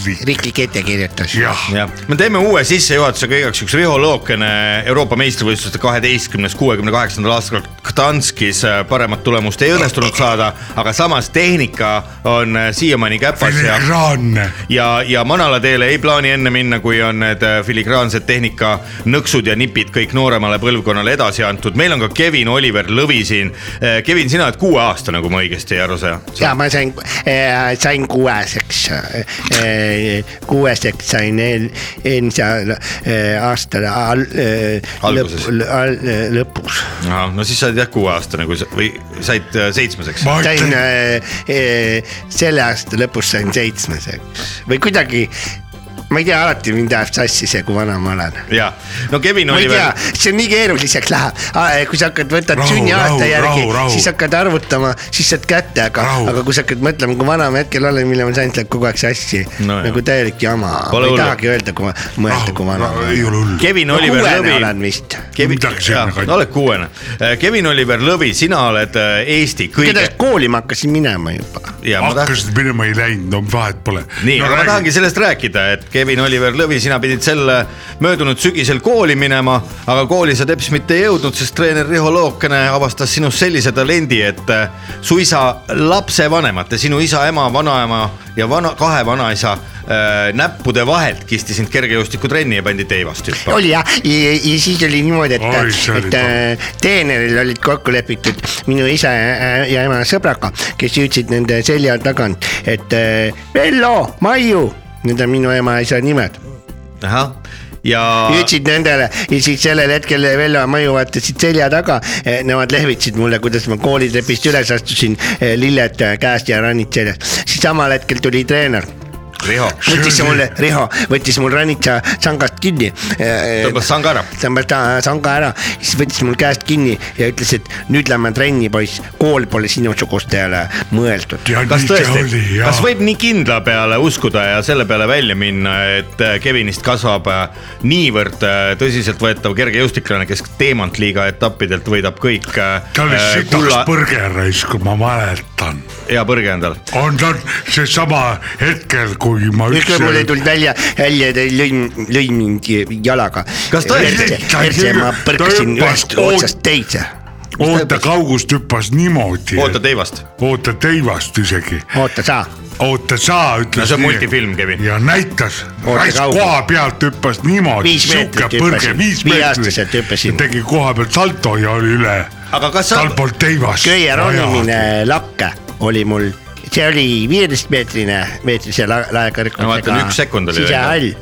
S2: riiklik ,
S8: riiklik ettekirjutus .
S2: jah
S4: jah , me teeme uue sissejuhatusega igaks juhuks Riho Lookene Euroopa meistrivõistluste kaheteistkümnes , kuuekümne kaheksandal aastal Gdanskis äh, paremat tulemust ei õnnestunud saada , aga samas tehnika on äh, siiamaani käpas ja
S2: filigraanne .
S4: ja , ja manalateele ei plaani enne minna , kui on need äh, filigraansed tehnikanõksud ja nipid kõik nooremale põlvkonnale edasi antud . meil on ka Kevin Oliver Lõvi siin . Kevin , sina oled kuueaastane , kui ma õigesti aru saan .
S8: ja ma sain , sain kuueseks , kuueseks sain eel- , eelmise a- aasta al, äh,
S4: Alguses.
S8: lõpul , lõpus .
S4: ahah , no siis sa oled jah kuueaastane , kui sa või said äh, seitsmeseks .
S2: ma
S8: sain
S2: ütlen ,
S8: eh, eh, selle aasta lõpus sain seitsmeseks või kuidagi , ma ei tea , alati mind ajab sassi see , kui vana ma olen
S4: ja , no Kevin
S8: ma ei tea
S4: Oliver ,,
S8: see on nii keeruliseks läheb , kui sa hakkad , võtad
S2: Rahu, rahu,
S8: sünniaasta järgi
S2: rahu, rahu. ,
S8: siis hakkad arvutama , siis saad kätte , aga
S2: Rahu. ,
S8: aga kui sa hakkad mõtlema , kui vana ma hetkel olen , millal ma sain , siis läheb kogu aeg sassi no,
S4: No jah. .
S8: nagu täielik jama , ma
S4: Pole
S8: ei
S4: hullu.
S8: tahagi öelda , kui ma , mõelda , kui vana ma
S2: ei
S8: olen .
S2: ole hullu .
S4: Kevin Oliver
S8: kuuene
S4: Lõvi
S8: olen . vist .
S4: Kevin
S2: Midagi , sinna kanti.
S4: oled kuuene . Kevin Oliver Lõvi , sina oled äh, Eesti kõige
S8: igatahes . kooli ma hakkasin minema juba .
S4: ja ma tahan ,
S2: hakkasid minema , ei läinud , no vahet pole .
S4: nii no, ,
S2: no,
S4: aga ma tahangi sellest rääkida , et Kevin Oliver Lõvi , sina pidid sel äh, möödunud sügisel kooli minema , aga kooli sa teps mitte ei jõudnud , sest treener Riho Lookene avastas sinus sellise talendi , et äh, suisa lapsevanemate , sinu isa , ema , vanaema ja vana , kahe vanaisa äh, näppude vahelt kisti sind kergejõustikutrenni ja pandi teivast hüppama .
S8: oli jah , ja siis oli niimoodi , et
S2: Oi, see , oli
S8: et äh, treeneril olid kokku lepitud minu isa ja, ja ema sõbraga , kes hüüdsid nende selja tagant , et äh, Vello , Maiu , need on minu ema ja isa nimed .
S4: ahah , ja
S8: hüüdsid nendele ja siis sellel hetkel Vello ja Maiu vaatasid selja taga , nemad lehvitasid mulle , kuidas ma koolitrepist üles astusin , lilled äh, käest ja rannid seljas , siis samal hetkel tuli treener
S4: Riho
S8: võttis mulle , Riho võttis mul ranitsa sangast kinni . eh,
S4: tõmbas sanga ära .
S8: tõmbas ta sanga ära , siis võttis mul käest kinni ja ütles , et nüüd lähme trenni , poiss , kool pole sinusugustele mõeldud .
S2: ja
S4: kas
S2: nii see
S4: tõesti
S2: oli , ja
S4: kas võib nii kindla peale uskuda ja selle peale välja minna , et äh, Kevinist kasvab äh, niivõrd äh, tõsiseltvõetav kergejõustiklane , kes Teemantliiga etappidelt võidab kõik äh,
S2: ta oli
S4: äh,
S2: sitaks põrgeraisk , ma mäletan .
S4: ja põrge endale .
S2: on , on seesama hetkel , kui
S5: kuigi ma
S7: ükskord mul ei
S5: üldse
S7: tulnud välja , välja ja ta lõi , lõi mind jalaga .
S4: Kas tõesti?
S7: perse , ma põrkasin
S5: Ta hüppas
S7: ühest otsast teise .
S5: oota kaugust hüppas niimoodi ,
S4: oota teivast .
S5: oota teivast isegi ,
S7: oota sa ,
S5: oota sa ütles .
S4: No see on multifilm, Kevin.
S5: ja näitas ,
S7: Oota
S5: raisk
S7: kaugust.
S5: koha pealt hüppas niimoodi ,
S7: Viis meetrit
S5: sihuke põrge
S7: hüppasin. ,
S5: viis
S7: Viieaastaselt hüppasin.
S5: meetrit , tegi koha pealt salto ja oli üle
S4: aga kas sa ,
S5: talpolt teivast .
S7: köie ronimine lakke oli mul , see oli viieteistmeetrine , meetrise la- laekarikkusega .
S4: Ma vaatan, üks sekund oli
S7: sisehall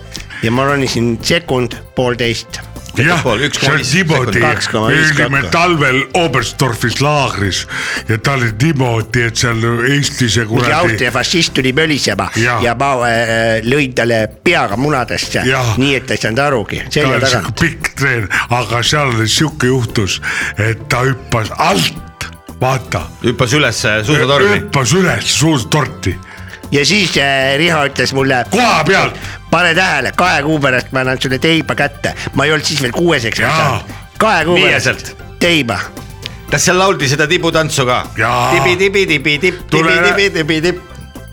S7: ja ma ronisin sekund , poolteist .
S5: jah ,
S4: pool, üks
S5: see
S4: koma
S5: on
S4: viis
S5: niimoodi ,
S4: sekundit.
S7: Kaks koma
S5: me
S7: viis
S5: olime
S7: kakku.
S5: talvel Oberstdorfis laagris ja ta oli niimoodi , et seal Eestis ja
S7: mingi
S5: kuradi
S7: Austria fašist tuli mölisema ja,
S5: Jaa.
S7: ja ma
S8: eh,
S7: äh, lõin talle peaga munadesse
S5: Jaa. ,
S7: nii et ta ei saanud arugi ,
S5: ta
S7: selja
S5: oli siuke
S7: tagant .
S5: pikk treen , aga seal oli siuke juhtus , et ta hüppas alt , vaata ,
S4: hüppas ülesse suusatorni .
S5: hüppas üles suurt torti ,
S7: ja siis äh, Riho ütles mulle ,
S5: koha pealt ,
S7: pane tähele , kahe kuu pärast ma annan sulle teiba kätte , ma ei olnud siis veel kuueseks
S5: Jaa.
S7: saanud , kahe kuu pärast
S4: Viieselt.
S7: teiba .
S4: kas seal lauldi seda tibutantsu ka ?
S5: Jaa.
S4: tibi-tibi-tibi-tipp ,
S5: Tule-
S4: tibi-tibi-tibi-tipp .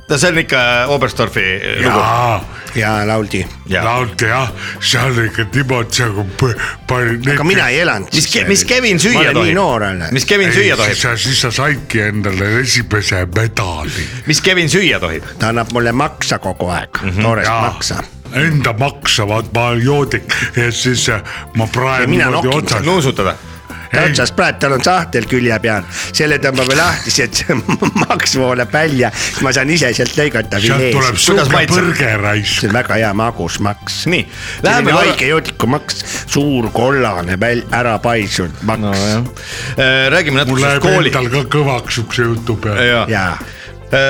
S4: no see on ikka Oberstdorfi lugu .
S5: jaa ,
S7: ja lauldi ,
S4: Ja.
S5: lauldi jah , seal oli ikka niimoodi nagu p- pani .
S7: aga mina ei elanud .
S4: mis , mis Kevin
S7: ma
S4: süüa
S7: olen nii noor
S4: tohib
S7: alles. ?
S4: mis Kevin süüa tohib ?
S5: tohib . siis sa saidki endale esimese medali
S4: mis Kevin süüa tohib ?
S7: ta annab mulle maksa kogu aeg mm , -hmm. toorest
S5: Jaa.
S7: maksa .
S5: Enda maksa , vaat ma olen joodik ja siis äh, ma
S7: Ja
S5: praegu
S7: mina
S5: niimoodi
S7: nokin
S5: otsas ,
S4: nuusutada .
S7: ta otsas praegu , tal on sahtel külje peal , selle tõmbame lahti , sealt see <laughs> maks voolab välja , siis ma saan ise sealt lõigata
S5: sealt tuleb
S7: filees .
S4: Kuidas
S5: siuke
S4: maitseb?
S5: põrgeraisk
S7: see . on väga hea magus maks .
S4: nii , läheme
S7: selline
S4: korra
S7: haige joodikumaks , suur kollane väl- , ära paisunud maks no, .
S4: nojah , Äh, räägime
S5: mul
S4: natuke
S5: läheb
S4: kooli .
S5: endal ka kõvaks siukse jutu peale .
S4: jaa ,
S7: jaa ,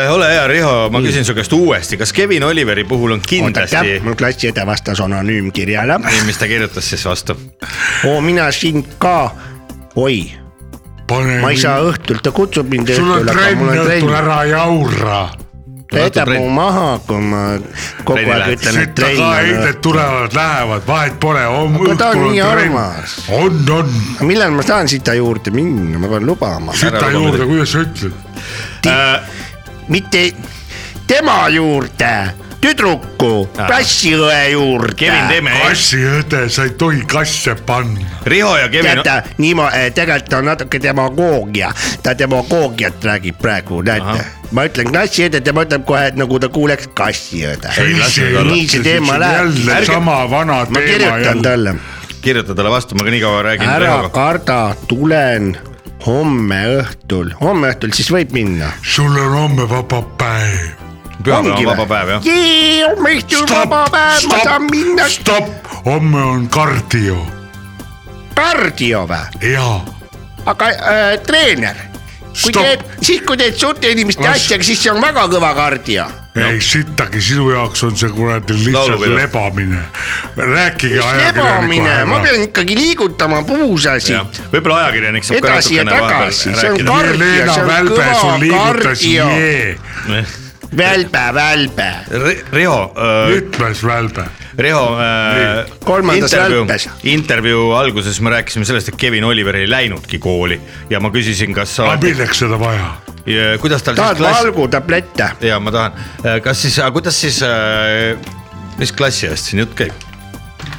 S4: ole hea , Riho , ma küsin su käest uuesti , kas Kevin Oliveri puhul on kindlasti
S7: oodake ,,
S4: <laughs>
S7: mul klassiõde vastas anonüümkirjale .
S4: mis ta kirjutas siis vastu ?
S7: oo , mina sind ka , oi ,
S5: pane
S7: ma ei saa , õhtul , ta kutsub mind
S5: Mhm. sul on
S7: õhtul , aga
S5: trenn
S7: mul on
S5: õhtul ,
S7: trenn .
S5: ära jaura .
S7: ta jätab
S4: trenn.
S7: mu maha , kui ma kogu
S4: Trenni
S7: aeg
S4: lähed.
S7: ütlen , et
S5: sitta
S7: trenn
S5: ka
S7: on .
S5: eiled tulevad , lähevad , vahet pole , on
S7: Aga ta on
S5: õhtul on
S7: nii
S5: trenn
S7: armas. .
S5: on , on ,
S7: millal ma saan sita juurde minna , ma pean lubama .
S4: luba
S5: sita
S4: muidugi.
S5: juurde ,
S4: Äh,
S5: kuidas sa ütled ,
S7: mitte tema juurde , tüdruku , klassiõe juurde .
S4: Kevin , teeme ,
S5: kassiõde , sa ei tohi kasse panna .
S4: Riho ja Kevin ,
S7: teate , niimoodi , tegelikult on natuke demagoogia , ta demagoogiat räägib praegu , näete . ma ütlen klassiõde , tema ütleb kohe , nagu ta kuuleks kassiõde .
S4: Ei, las nüüd olla.
S7: nii see teema läheb .
S5: jälle sama vana
S7: ma
S5: teema
S7: kirjutan
S5: jälle .
S7: talle ,
S4: kirjuta talle vastu , ma ka nii kaua räägin
S7: ära
S4: Rihoga .
S7: karda , tulen homme õhtul , homme õhtul siis võib minna .
S5: sul on homme vaba päev .
S4: pühapäev on vaba päev , jah .
S7: jee , homme õhtul
S5: Stopp,
S7: vaba päev , ma
S5: stopp,
S7: saan minna
S5: stopp , homme on kardio
S7: kardio või ?
S5: ja
S7: aga äh, treener , kui
S5: Stopp.
S7: teed , siis kui teed suurte inimeste
S5: Las-
S7: asjaga , siis see on väga kõva kardio .
S5: ei sittagi , sinu jaoks on see kuradi lihtsalt
S4: Laulupidu.
S5: lebamine . rääkige ajakirjaniku
S7: lebamine , ma
S5: ära .
S7: pean ikkagi liigutama puusasid .
S4: võib-olla ajakirjanik saab ka
S7: Edasi ja
S4: natukene
S7: tagasi,
S4: vahepeal
S7: see on
S4: rääkida
S5: Jelena
S7: ka- . kardio, see on
S5: Välbe ,
S7: kõva
S5: sul liigutas
S7: kardio.
S5: jee ,
S7: välbe , välbe ,
S4: Riho , äh,
S5: ütles Välbe .
S4: Riho .
S7: Kolmandas välpes.
S4: intervjuu alguses me rääkisime sellest , et Kevin Oliver ei läinudki kooli ja ma küsisin , kas sa
S5: aga , milleks seda vaja ?
S4: kuidas tal siis
S7: tahad
S4: klass ,
S7: valgutablette ?
S4: ja ma tahan , kas siis , kuidas siis , mis klassi eest siin jutt käib ?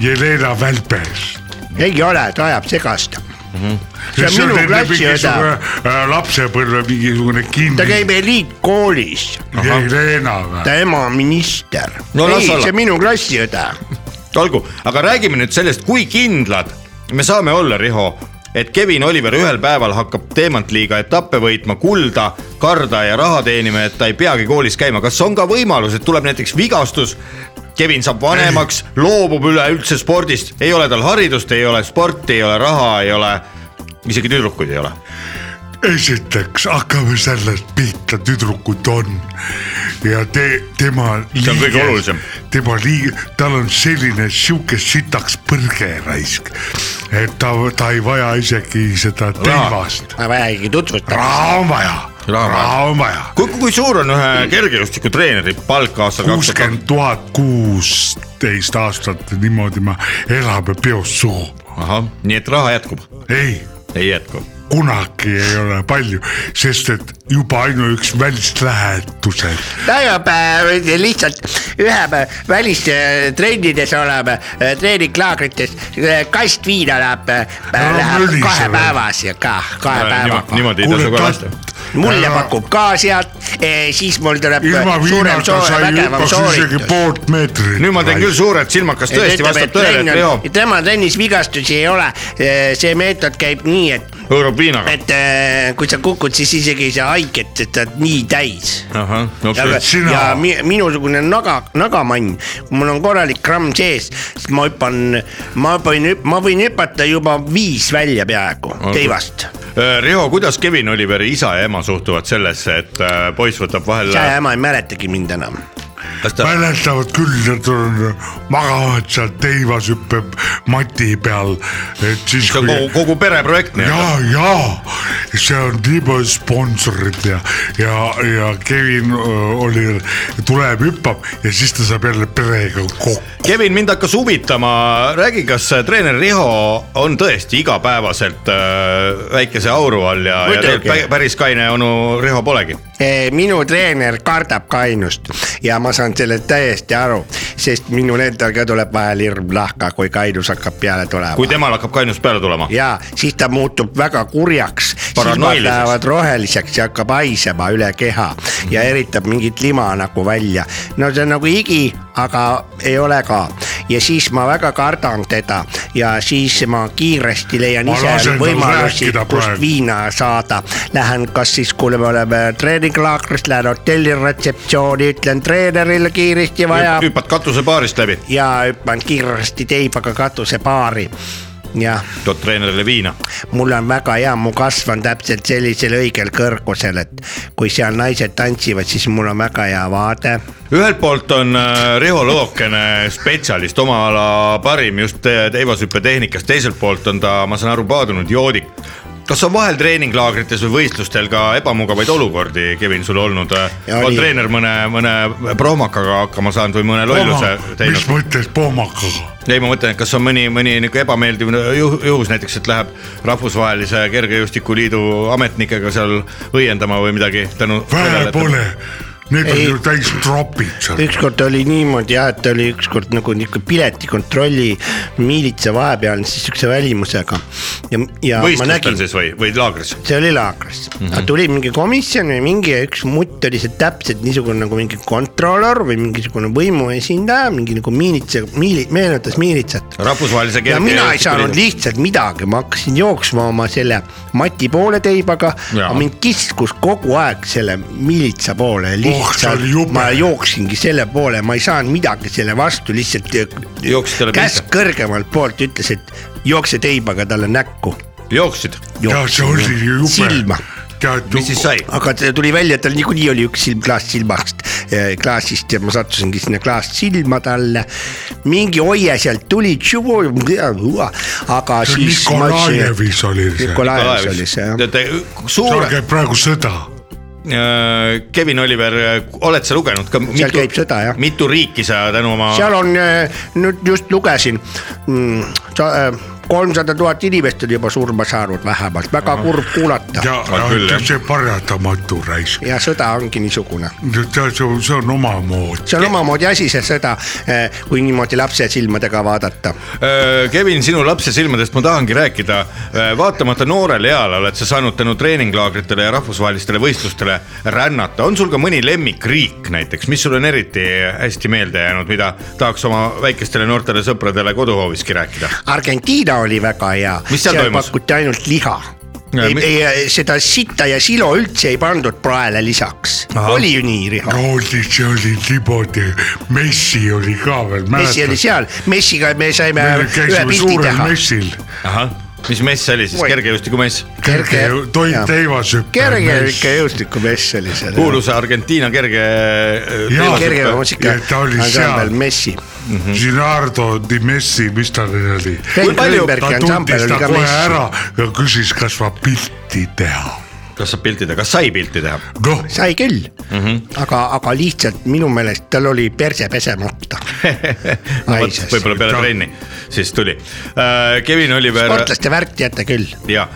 S5: Jelena Välbes .
S7: ei ole , ta ajab segast .
S5: Mhm.
S7: see on minu klassiõde ,
S5: mingisugune äh, lapsepõlve mingisugune
S7: ta
S5: kinni
S7: käib eliitkoolis ,
S5: Jelena või ?
S7: ta ema on minister
S4: No
S7: no, .
S4: las
S7: ei ,
S4: olla.
S7: see on minu klassiõde .
S4: olgu , aga räägime nüüd sellest , kui kindlad me saame olla , Riho , et Kevin Oliver ühel päeval hakkab teemantliiga etappe võitma , kulda , karda ja raha teenima , et ta ei peagi koolis käima , kas on ka võimalus , et tuleb näiteks vigastus , Kevin saab vanemaks , loobub üleüldse spordist , ei ole tal haridust , ei ole sporti , ei ole raha , ei ole , isegi tüdrukuid ei ole .
S5: esiteks hakkame sellest pihta , tüdrukud on ja te , tema .
S4: See on kõige olulisem. .
S5: tema liige , tal on selline sihuke sitaks põrgeraisk , et ta , ta ei vaja isegi seda teivast .
S7: ma ei vaja ikkagi tutvutada .
S5: raha on vaja ,
S4: Raha on vaja.
S5: raha on vaja .
S4: kui , kui suur on ühe kergejõustikutreeneri palk aastal kaks tuhat
S5: kuuskümmend tuhat kuusteist aastat niimoodi me elame peost suhu ,
S4: ahah , nii et raha jätkub ?
S5: ei
S4: ei jätku .
S5: kunagi ei ole palju , sest et juba ainuüks välislähetused .
S7: tänapäev lihtsalt ühe päev välistrendides oleme , treeninglaagrites , kast viina läheb , läheb
S5: mölise
S7: kahe
S5: veel.
S7: päevas ja ka kahe päevaga .
S4: Äh, niimoodi ei tasu ka lasta .
S7: mulle pakub ka sealt , siis mul tuleb
S5: ilma
S7: suurem ,
S5: viinata sai
S7: suurem , vägevam
S5: hüppas isegi
S7: sooritus .
S5: poolt meetrit .
S4: nüüd ma teen küll . suured silmad , kas tõesti vastab tõele , et Leo
S7: tema trennis vigastusi ei ole , see meetod käib nii , et ,
S4: hõõrub viinaga ?
S7: et eh, kui sa kukud , siis isegi ei saa haiget , et sa oled nii täis
S4: ahah ,
S7: ja,
S4: absoluutselt .
S5: sina.
S7: ja mi, minusugune naga , nagamann , kui mul on korralik gramm sees , siis ma hüppan , ma võin , ma võin hüpata juba viis välja peaaegu teivast .
S4: Äh, Riho , kuidas Kevin Oliveri isa ja ema suhtuvad sellesse , et äh, poiss võtab vahel äh,
S7: isa ja ema ei mäletagi mind enam .
S4: kas ta ,
S5: mäletavad küll , et on , magavad seal teivas , hüppab mati peal , et siis .
S4: see on kogu , kogu pereprojekt nii-öelda .
S5: ja , ja see on nii palju sponsorit ja , ja , ja Kevin öö, oli , tuleb hüppab ja siis ta saab jälle perega kokku .
S4: Kevin , mind hakkas huvitama , räägi , kas äh, treener Riho on tõesti igapäevaselt äh, väikese auru all ja , ja
S7: Muidugi.
S4: tegelikult pä- päris kaine onu Riho polegi .
S7: Eh, minu treener kardab kainust ja ma saan sellest täiesti aru , sest minul endal ka tuleb vahel hirm nahka , kui kainus hakkab peale tulema
S4: kui temal hakkab kainus peale tulema .
S7: ja siis ta muutub väga kurjaks , silmad
S4: Paranoiliseks.
S7: lähevad roheliseks ja hakkab haisema üle keha ja eritab mingit lima nagu välja . no see on nagu higi , aga ei ole ka ja siis ma väga kardan teda ja siis ma kiiresti leian
S5: Ma lasen
S7: ise
S5: tal
S7: võimalusi
S5: rääkida , praegu.
S7: kust viina saada . Lähen , kas siis , kui me oleme treeninglaagris , lähen hotelli retseptsiooni , ütlen treenerile kiiresti vaja
S4: hüppad katusepaarist läbi ,
S7: ja hüppan kiiresti teibaga katusepaari jah
S4: tood treenerile viina .
S7: mul on väga hea , mu kasv on täpselt sellisel õigel kõrgusel , et kui seal naised tantsivad , siis mul on väga hea vaade .
S4: ühelt poolt on äh, Riho Lõokene spetsialist , oma ala parim just te- teivashüppetehnikas , teiselt poolt on ta , ma saan aru , paadunud joodik . kas on vahel treeninglaagrites või võistlustel ka ebamugavaid olukordi , Kevin , sul olnud ? on
S7: oli.
S4: treener mõne , mõne prohmakaga hakkama saanud või mõne lolluse
S5: mis
S4: teinud ?
S5: mõttes poomakaga ?
S4: ei , ma mõtlen , et kas on mõni , mõni niisugune ebameeldiv juh- juhus näiteks , et läheb rahvusvahelise kergejõustikuliidu ametnikega seal õiendama või midagi tänu .
S5: vähe pole , need on
S7: Ei.
S5: ju täis tropid seal .
S7: ükskord oli niimoodi jah , et oli ükskord nagu nihuke piletikontrolli miilitsa vahepealne siis siukse välimusega ja , ja ma
S4: võistlustel
S7: nägin ,
S4: siis Mhm. või , või laagris ?
S7: see oli laagris mm , -hmm. tuli mingi komisjon või mingi ja üks mutt oli seal täpselt niisugune nagu mingi kontrolör või mingisugune võimuesindaja , mingi nagu miilitsa , miili- , meenutas miilitsat
S4: rahvusvahelise
S7: ja
S4: kerge .
S7: mina ei saanud . lihtsalt midagi , ma hakkasin jooksma oma selle Mati poole teibaga ,
S4: Jaa.
S7: aga mind kiskus kogu aeg selle miilitsa poole ,
S5: see
S7: lihtsalt
S5: oli jube.
S7: oh, ma jooksingi selle poole , ma ei saanud midagi selle vastu , lihtsalt äh,
S4: Jooksid talle
S7: käsk
S4: pihta.
S7: kõrgemalt poolt ütles , et jookse teibaga talle näkku .
S4: jooksid ,
S5: ja see oli ju jube
S7: silma. .
S5: tead
S4: mis siis , sai ?
S7: aga ta tuli välja , tal niikuinii oli üks silm klaas silmast , klaasist ja ma sattusingi sinna klaas silma talle . mingi hoie sealt tuli , aga
S5: see on
S7: siis .
S5: Nikolajevis oli see ,
S7: Nikolajevis oli see jah .
S4: teate ,
S5: seal
S4: suur Äh,
S5: käib praegu sõda .
S4: Kevin Oliver , oled sa lugenud ka ?
S7: Seal käib sõda, jah.
S4: mitu riiki sa tänu oma
S7: seal on , nüüd just lugesin , kolmsada tuhat inimest on juba surma saanud vähemalt , väga kurb kuulata
S5: ja
S4: On , küll,
S5: ja
S4: jah.
S5: see paratamatu raisk ,
S7: ja sõda ongi niisugune .
S5: tead , see on omamoodi .
S7: see on omamoodi asi , see sõda , kui niimoodi lapse silmadega vaadata .
S4: Öö, Äh, Kevin , sinu lapse silmadest ma tahangi rääkida . vaatamata noorele eale oled sa saanud tänu treeninglaagritele ja rahvusvahelistele võistlustele rännata . on sul ka mõni lemmikriik näiteks , mis sul on eriti hästi meelde jäänud , mida tahaks oma väikestele noortele sõpradele koduhooviski rääkida ?
S7: Argentiina oli väga hea ,
S4: Mis seal
S7: seal
S4: toimus?
S7: pakuti ainult liha .
S4: Ja
S7: ei
S4: mi- ,
S7: ei seda sitta ja silo üldse ei pandud praele lisaks , oli ju nii , Riho ?
S5: Rootsi , see oli niimoodi , Messi oli ka veel ,
S7: messi oli
S5: mäletad ?
S7: seal , messiga me saime ühe
S5: käisime
S7: pildi
S5: suurel
S7: teha .
S5: messil ,
S4: ahah , mis mess see oli siis ,
S7: Oi.
S4: kergejõustikumess ?
S5: kerge
S7: Kerge- ,
S5: toit
S7: jah.
S5: teivas
S7: kerge ikka . jõustiku mess oli seal .
S4: kuulus Argentiina kerge . äh,
S5: Jaa.
S7: kerge
S5: Ja
S7: muusika
S5: ta oli
S7: ansambel
S5: seal.
S7: Messi . Mhm.
S5: Gennardo Di Messi , mis ta nimi oli ?
S7: Henk
S4: palju-
S7: Grünbergi
S5: ta tundis
S7: ansambel
S5: ta
S7: oli ka
S5: kohe
S7: Messi .
S5: ära ja küsis , kas ma pilti teha .
S4: kas saab pilti teha , kas sai pilti
S7: <laughs>
S4: teha ?
S5: noh ,
S7: sai küll mm ,
S5: Mhm.
S7: -hmm. aga , aga lihtsalt minu meelest tal oli perse pesemata .
S4: no vot , võib-olla peale trenni , siis tuli . Kevin Oliver ,
S7: sportlaste värk teate küll ,
S4: ja ,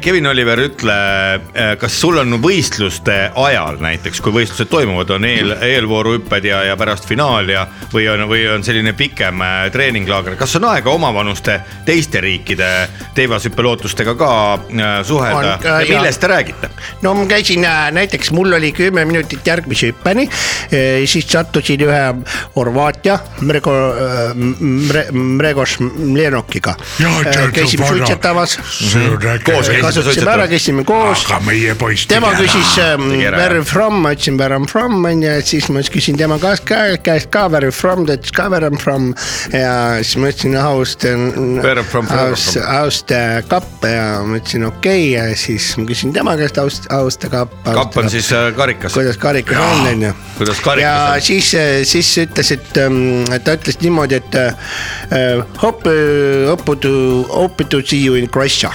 S4: Kevin Oliver , ütle , kas sul on võistluste ajal näiteks , kui võistlused toimuvad , on eel , eelvooruhüpped ja , ja pärast finaal ja , või on , või on selline pikem äh, treeninglaager , kas on aega omavanuste teiste riikide teivashüppelootustega ka äh, suhelda
S7: On,
S4: ja
S7: äh, jaa.
S4: millest te räägite ?
S7: no ma käisin äh, näiteks , mul oli kümme minutit järgmise hüppeni , siis sattusin ühe Horvaatia Mrego , Mregos Mlenokiga
S5: Jaa, tead, .
S7: käisime Mhm.
S5: Horvaatia.
S7: suitsetamas ,
S5: see on
S4: Koos
S5: äge .
S4: käisite
S7: kasutasime
S4: suitsetama?
S7: ära , käisime koos
S5: aga meie poiss
S7: tema küsis ähm,
S4: tegi ära,
S7: where
S4: jah.
S7: you from , ma ütlesin where I m from onju , siis ma siis küsin tema käest ka , käest ka where you from , ta ütles ka where I m from ja siis ma ütlesin Austin ,
S4: Where you from, where you from?
S7: Austin Kapp ja ma ütlesin okei okay. ja siis ma küsin tema käest Aust- , Austin Kapp .
S4: kapp on siis äh, karikas .
S7: kuidas karikas on onju .
S4: Kuidas karikas
S7: ja
S4: on?
S7: siis , siis ütles , et ähm, ta ütles niimoodi , et äh, hope , hope to , hope to see you in Croatia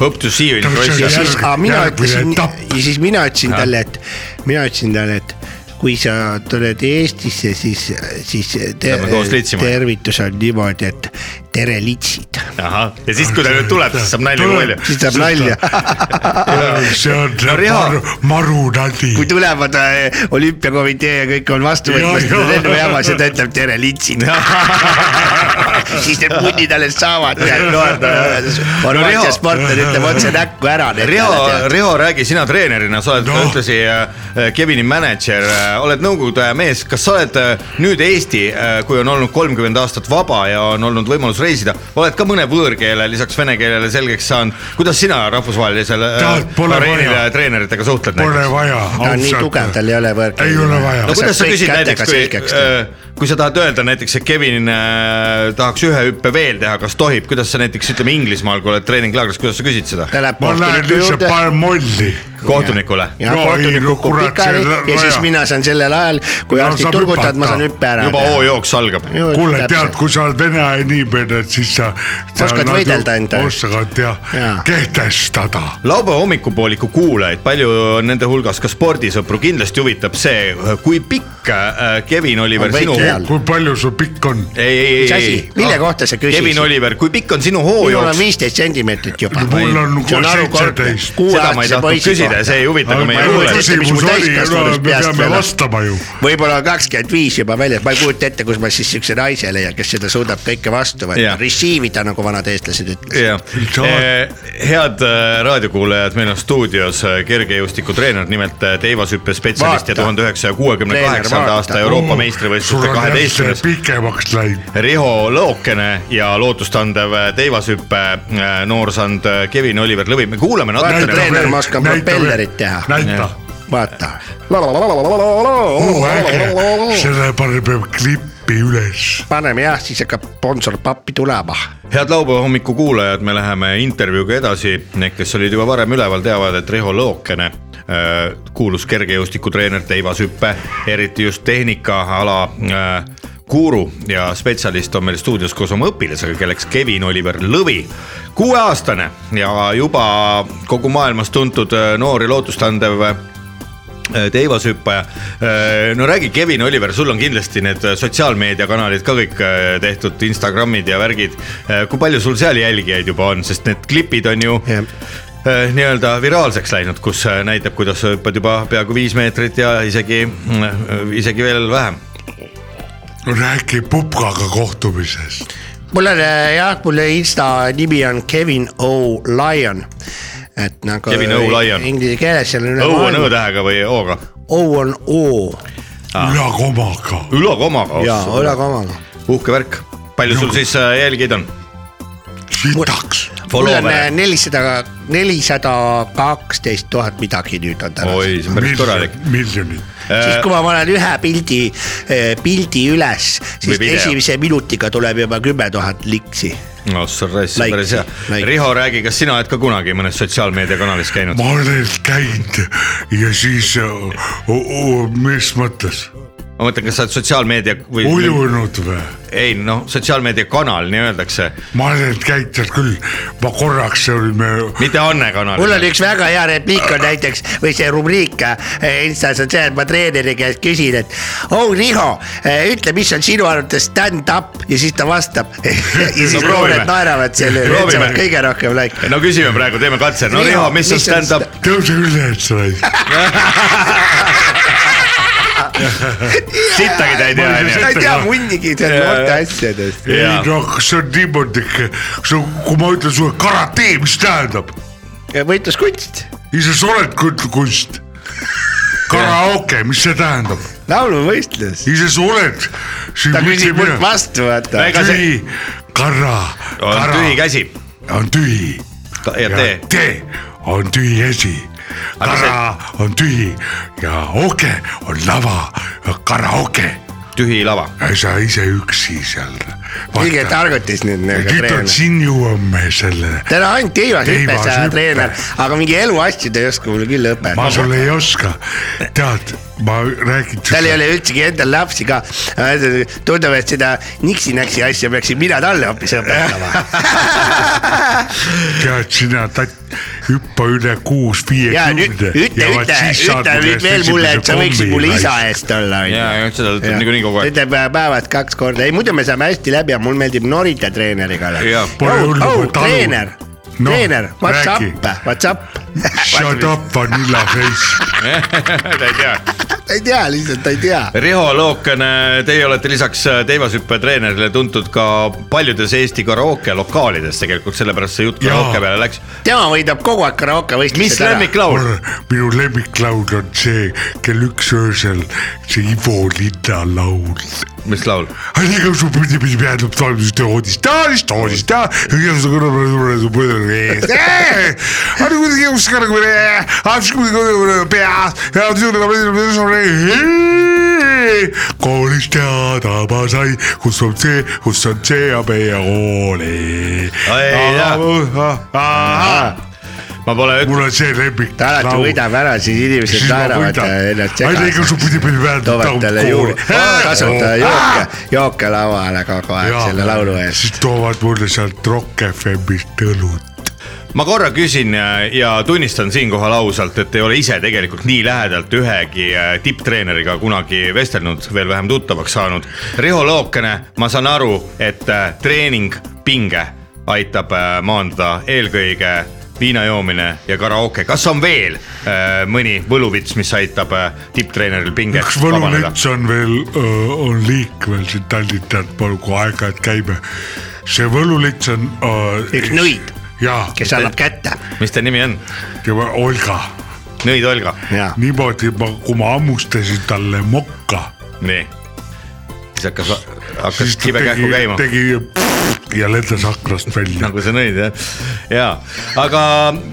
S4: Hope to see you in
S7: ja
S4: Croatia .
S7: siis , aga mina
S5: Järgmine
S7: ütlesin
S5: etapp. ,
S7: ja siis mina ütlesin
S4: Jah.
S7: talle , et , mina ütlesin talle , et kui sa tuled Eestisse , siis , siis te,
S4: Lähme koos litsima.
S7: tervitus on niimoodi , et tere litsid ,
S4: ahah , ja siis , kui ta nüüd tuleb , siis saab nalja
S5: Tuleb.
S4: palju .
S7: siis tuleb nalja . <laughs>
S5: see on
S4: Riho.
S5: maru , marunadi .
S7: kui tulevad äh, olümpiakomitee ja kõik on vastu
S5: Jaa,
S7: võtmas
S5: jaa.
S7: lennujaamas ja ta ütleb tere litsid .
S4: <laughs>
S7: siis need punnid alles saavad , tead , noored ,
S4: Riho-
S7: Horvaatia sportlane
S4: <laughs>
S7: ütleb otse näkku ära .
S4: Riho , Riho , räägi , sina treenerina , sa oled no.
S5: Noh.
S4: ühtlasi äh, Kevini mänedžer , oled Nõukogude aja mees , kas sa oled äh, nüüd Eesti , kui on olnud kolmkümmend aastat vaba ja on olnud võimalus reisida , oled ka mõne võõrkeele lisaks vene keelele selgeks saanud , kuidas sina rahvusvahelisel äh,
S5: Tead, pole
S4: areenil
S5: vaja.
S4: ja treeneritega suhtled
S5: Pole
S4: näiteks ?
S5: vaja .
S7: ta on nii tugev , tal ei ole võõrkeeli .
S5: Ei ole vaja.
S4: no
S5: Sa
S4: kuidas sa küsid näiteks , kui , äh, kui sa tahad öelda näiteks , et Kevin äh, tahaks ühe hüppe veel teha , kas tohib , kuidas sa näiteks ütleme Inglismaal , kui oled treeninglaagris , kuidas sa küsid seda
S7: ta läheb
S5: ma lähen
S7: kohtuniku
S5: lihtsalt
S7: juurde
S5: panen molli .
S4: kohtunikule ?
S7: ja
S5: No ei,
S7: kohtunik
S5: no
S7: kukub
S5: kurat,
S7: pikali
S5: see
S7: ja siis
S5: raja.
S7: mina saan sellel ajal , kui
S5: No
S7: arstid
S5: saab
S7: turgutavad , ma
S5: hüpata.
S7: saan hüppe ära
S4: juba hoojooks algab .
S5: kuule , tead , kui sa oled vene aja inimene , siis sa .
S7: Oskad võidelda enda eest.
S5: oskad jah
S7: Jaa.
S5: ja. , kehtestada .
S4: laupäeva hommikupooliku kuulajaid , palju on nende hulgas ka spordisõpru , kindlasti huvitab see , kui pikk äh, Kevin Oliver
S7: On väike
S4: sinu .
S7: jääl.
S4: ei ,
S5: kui palju sul pikk on ?
S4: ei ,
S7: mis
S4: ei ,
S7: asi
S4: ei ,.
S7: mille kohta sa
S4: Kevin
S7: küsisid ?
S4: Oliver , kui pikk on sinu
S7: minul on
S4: hoojooks ?
S7: viisteist sentimeetrit juba .
S5: mul on nagu seitseteist .
S4: seda ma ei tahtnud küsida , see ei huvita ka meie
S7: ma ei kuule,
S4: kuulajaid .
S7: mõtlesin- mis mu
S5: küsimus oli ,
S7: täiskasvanust
S5: me
S7: peast
S5: peame
S7: veel on.
S5: vastama ju .
S7: võib-olla kakskümmend viis juba väljas , ma ei kujuta ette , kus ma siis siukse naise leian , kes seda suudab kõike vastu võtta
S4: Jah. ,
S7: receive ida nagu vanad eestlased ütlesid .
S4: jah , Eh, head äh, raadiokuulajad , meil on stuudios äh, kergejõustikutreener , nimelt äh, teivashüppe spetsialist ja
S7: Vaata.
S4: tuhande üheksasaja kuuekümne
S7: Treener,
S4: kaheksanda
S7: vaata.
S4: aasta Euroopa meistrivõistluste kaheteistkümnes
S5: pikemaks läinud .
S4: Riho Lõokene ja eh, lootustandev teivashüppe äh, noorsand äh, Kevin Oliver Lõvi , me kuulame
S7: Vaata,
S4: natukene .
S7: treener, ma oskan propellerit teha.
S5: näita ,
S7: vaata , Oh,
S5: oo Oh, äge , selle paneme klippi üles .
S7: paneme jah , siis hakkab sponsor pappi tulema .
S4: head laupäeva hommiku kuulajad , me läheme intervjuuga edasi , need , kes olid juba varem üleval , teavad , et Riho Lõokene , kuulus kergejõustikutreener , teivashüppe , eriti just tehnikaala äh, guru ja spetsialist on meil stuudios koos oma õpilasega , kelleks Kevin Oliver Lõvi , kuueaastane ja juba kogu maailmas tuntud äh, noor ja lootustandev äh, teivashüppaja . Äh, no räägi , Kevin Oliver , sul on kindlasti need äh, sotsiaalmeediakanalid ka kõik äh, tehtud , Instagramid ja värgid . kui palju sul seal jälgijaid juba on , sest need klipid on ju
S7: Jah.
S4: äh, nii-öelda viraalseks läinud , kus äh, näitab , kuidas sa hüppad juba peaaegu viis meetrit ja isegi , isegi veel vähem .
S5: räägi pupkaga kohtumisest .
S7: mul on äh, jah , mul insta nimi on Kevin O Lion , et nagu .
S4: Kevin O. Lion.
S7: Inglise keeles seal üle
S4: Õu on
S7: maailma .
S4: Ö-tähega või O-ga ?
S7: O on O
S5: ülakomaga .
S4: ülakomaga .
S7: ja ülekomaga .
S4: uhke värk , palju sul siis äh, jälgijaid on ?
S5: sitaks .
S7: mul on äh,
S4: Follower'e.
S7: nelisada , nelisada kaksteist tuhat midagi nüüd on täna .
S4: oi , äh. see on päris korralik .
S5: miljonid .
S7: siis kui ma panen ühe pildi , pildi üles , siis
S4: video.
S7: esimese minutiga tuleb juba kümme tuhat liksi .
S4: no sa raisk ,
S7: Like,
S4: päris hea
S7: like. .
S4: Riho , räägi , kas sina oled ka kunagi mõnes sotsiaalmeediakanalis käinud ?
S5: äh, ma olen käinud ja siis , mis mõttes ?
S4: ma mõtlen , kas sa oled sotsiaalmeedia või .
S5: ujunud või ?
S4: ei noh , sotsiaalmeediakanal , nii öeldakse ,
S5: ma olen käinud seal küll , ma korraks olime
S4: mitte Anne kanal .
S7: mul oli üks väga hea repliik on näiteks või see rubriik eh, Instas on see , et ma treeneri käest küsin , et oh Riho , ütle , mis on sinu arvates stand-up ja siis ta vastab . <laughs> ja siis
S4: No
S7: no,
S4: proovime.
S7: noored naeravad selle üle ,
S4: Proovime.
S7: et saavad kõige rohkem like .
S4: no küsime praegu , teeme katse , no Riho , mis on stand-up ?
S5: tõuse küll , et sa olid .
S4: sittagi ta ei tea ,
S7: ta
S4: onju .
S7: ei tea munnigi noorte asjadest .
S5: ei
S4: Jaa.
S5: no kas see on niimoodi , kui ma ütlen sulle karate , mis tähendab ,
S7: võitluskunst ,
S5: ise sa oled kut- kunst . karaoke , mis see tähendab ,
S7: lauluvõistlus .
S5: ise sa oled .
S7: ta küsib mult vastu , vaata .
S4: Ega see-
S5: tühi , karra ,
S4: on
S5: karra
S4: tühi käsi
S5: on tühi
S4: Ka- ja
S5: ja
S4: tee .
S5: tee on tühi esi .
S4: Aga
S5: kara on tühi ja oke on lava , karaoke
S4: tühi lava .
S5: ja sa ise üksi seal .
S7: kõige targutis nüüd nagu
S5: nüüd on
S7: treener .
S5: siin jõuame selle ,
S7: täna ainult teivas hüppes
S5: Teivas
S7: ära
S5: hüpe.
S7: treener , aga mingi eluasju ta ei oska mulle küll õpetada
S5: ma . sulle ei oska , tead , ma räägin .
S7: tal ei ole üldsegi endal lapsi ka . tundub , et seda niksi-näksi asja peaksin mina talle hoopis
S5: <laughs>
S7: õpetama .
S5: tead sina , tatt , hüppa üle kuus
S7: ja nüüd
S5: viiekümne .
S7: ütle , ütle , ütle nüüd veel mulle , et sa võiksid mulle isa eest olla ,
S4: ja , ja seda ütleb niikuinii kogu aeg .
S7: ütleb äh, päevas kaks korda , ei muidu me saame hästi läbi ja mul meeldib norida treeneriga .
S4: Jaa, <laughs>
S5: pole hullu, ma talun.
S7: treener ,
S5: Noh,
S7: treener , what's
S5: räägi.
S7: up , what's
S5: <laughs>
S7: up
S5: Shut up vanilla
S7: <laughs>
S5: face ,
S4: ta ei tea
S7: ta ei tea lihtsalt , ta ei tea .
S4: Riho Lookene , teie olete lisaks teivashüppe treenerile tuntud ka paljudes Eesti karaoke lokaalides tegelikult , sellepärast see jutt
S5: Jaa.
S4: karaoke peale läks .
S7: tema võidab kogu aeg karaoke
S4: mis
S7: võistlused ära .
S4: lemmiklaul ?
S5: minu lemmiklaul on see kell üks öösel , see Ivo Linna laul
S4: mis laul ?
S5: igasugune pidi peab toimuma toodist , toodist , toodist , igasugune . aga kuidagi uus ka nagu , kuidagi pea . koolis teada ma sai , kus on see , kus on see ja meie kooli .
S4: Ai, ma pole üt- ,
S5: mul on see lemmik .
S7: ta alati võidab ära , siis inimesed naeravad ja ennast
S5: aga igasugune pidi peab
S7: toovad talle juurde , tasuta jooke , jooke lauale kogu aeg
S5: Jaa.
S7: selle laulu eest .
S5: siis toovad mulle sealt Rock FM-ist õlut .
S4: ma korra küsin ja, ja tunnistan siinkohal ausalt , et ei ole ise tegelikult nii lähedalt ühegi äh, tipptreeneriga kunagi vestelnud , veel vähem tuttavaks saanud . Riho Lookene , ma saan aru , et äh, treeningpinge aitab äh, maandada eelkõige viina joomine ja karaoke , kas on veel äh, mõni võluvits , mis aitab äh, tipptreeneril pinget
S5: üks
S4: vabaneda ?
S5: võlumets on veel , on liikvel siin Tallinnas , palun kui aeg-ajalt käime . see võlulits on .
S7: Üks nõid. .
S5: jaa ,
S7: kes annab kätte .
S4: mis ta nimi on ?
S5: tema Olga ,
S4: Nõid Olga ,
S7: ja ,
S5: niimoodi ma , kui ma hammustasin talle mokka ,
S4: nii . siis hakkas , hakkas
S5: siis ta
S4: kibe kähku
S5: tegi
S4: käima ,.
S5: tegi ja lendas aknast välja .
S4: nagu sa nõid jah , ja , aga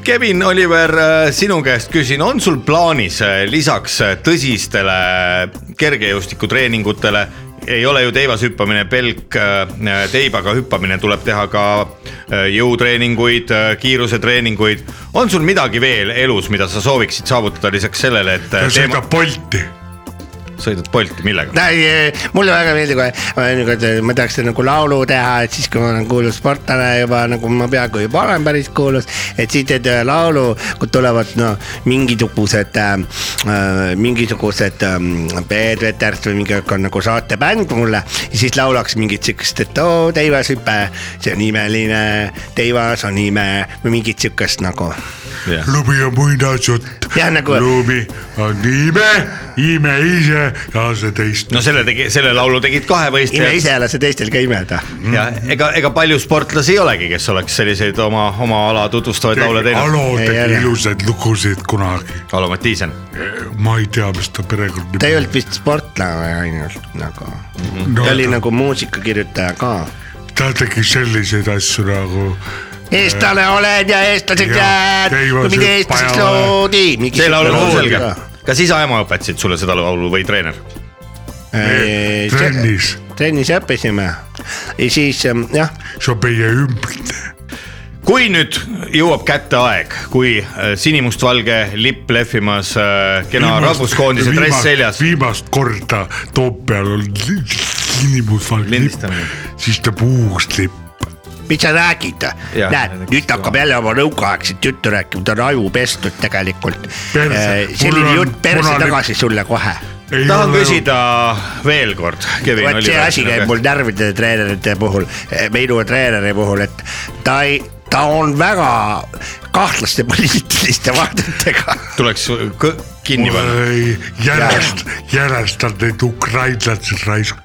S4: Kevin Oliver , sinu käest küsin , on sul plaanis äh, lisaks äh, tõsistele kergejõustikutreeningutele , ei ole ju teivas hüppamine pelk , teibaga hüppamine , tuleb teha ka äh, jõutreeninguid , kiirusetreeninguid . on sul midagi veel elus , mida sa sooviksid saavutada lisaks sellele , et
S5: ta
S4: äh,
S5: sõidab Bolti ,
S4: sõidad Bolti , millega ?
S7: mulle väga meeldib , kui niimoodi , ma tahaks nagu laulu teha , et siis , kui ma olen kuulus sportlane juba nagu ma peaaegu juba olen päris kuulus , et siis teed ühe laulu , kui tulevad no mingisugused äh, , mingisugused äh, Peep Veters või mingi on nagu saatebänd mulle ja siis laulaks mingit siukest , et oo teivas hüpe , see on imeline , teivas on ime või mingit siukest nagu
S5: lumi on muinasjutt .
S7: Jah, nagu-
S5: lumi on ime , ime ise ja see teist .
S4: no selle tegi , selle laulu tegid
S7: ime
S4: kahevõistlejad
S7: ise ei ole see teistel ka imeda .
S4: Mm-hmm. ja ega , ega palju sportlasi ei olegi , kes oleks selliseid oma , oma ala tutvustavaid laule teinud .
S5: Alo
S7: Ei
S5: tegi
S7: ole.
S5: ilusaid lugusid kunagi ,
S4: Alo Mattiisen ,
S5: ma ei tea , mis ta perekond .
S7: ta ei olnud vist sportlane ainult nagu mm , -hmm.
S5: No
S7: ta oli
S5: ta-
S7: nagu muusikakirjutaja ka .
S5: ta tegi selliseid asju nagu .
S7: eestlane olen ja eestlaseks
S5: Jah,
S7: jääd ,
S5: ei ole
S7: kui mind
S5: see
S7: eestlaseks
S5: paja-
S7: loodi .
S4: see laul on mul selge . kas isa ja ema õpetasid sulle seda laulu või treener ?
S5: trennis ,
S7: trennis õppisime ja siis ähm, jah ,
S5: see on meie hümn .
S4: kui nüüd jõuab kätte aeg , kui äh, sinimustvalge lipp lehvimas , kena rahvuskoondise dress seljas .
S5: viimast korda Toompeal on sinimustvalge lipp
S4: Lindistamine. ,
S5: siis tuleb uus lipp .
S7: mis sa räägid ,
S4: Jah,
S7: näed , nüüd ta hakkab jälle oma nõukaaegset juttu rääkima , ta on aju pestud tegelikult .
S5: Perse. Mul
S7: selline
S5: on
S7: jutt perse
S5: punane-
S7: tagasi sulle kohe .
S4: tahan . küsida veel kord .
S7: vot see asi käib mul närvide treenerite puhul , eh, minu treeneri puhul , et ta ei , ta on väga kahtlaste poliitiliste vaadetega .
S4: tuleks kõ- kinni panna .
S5: järjest , järjest on neid ukrainlasi raisk .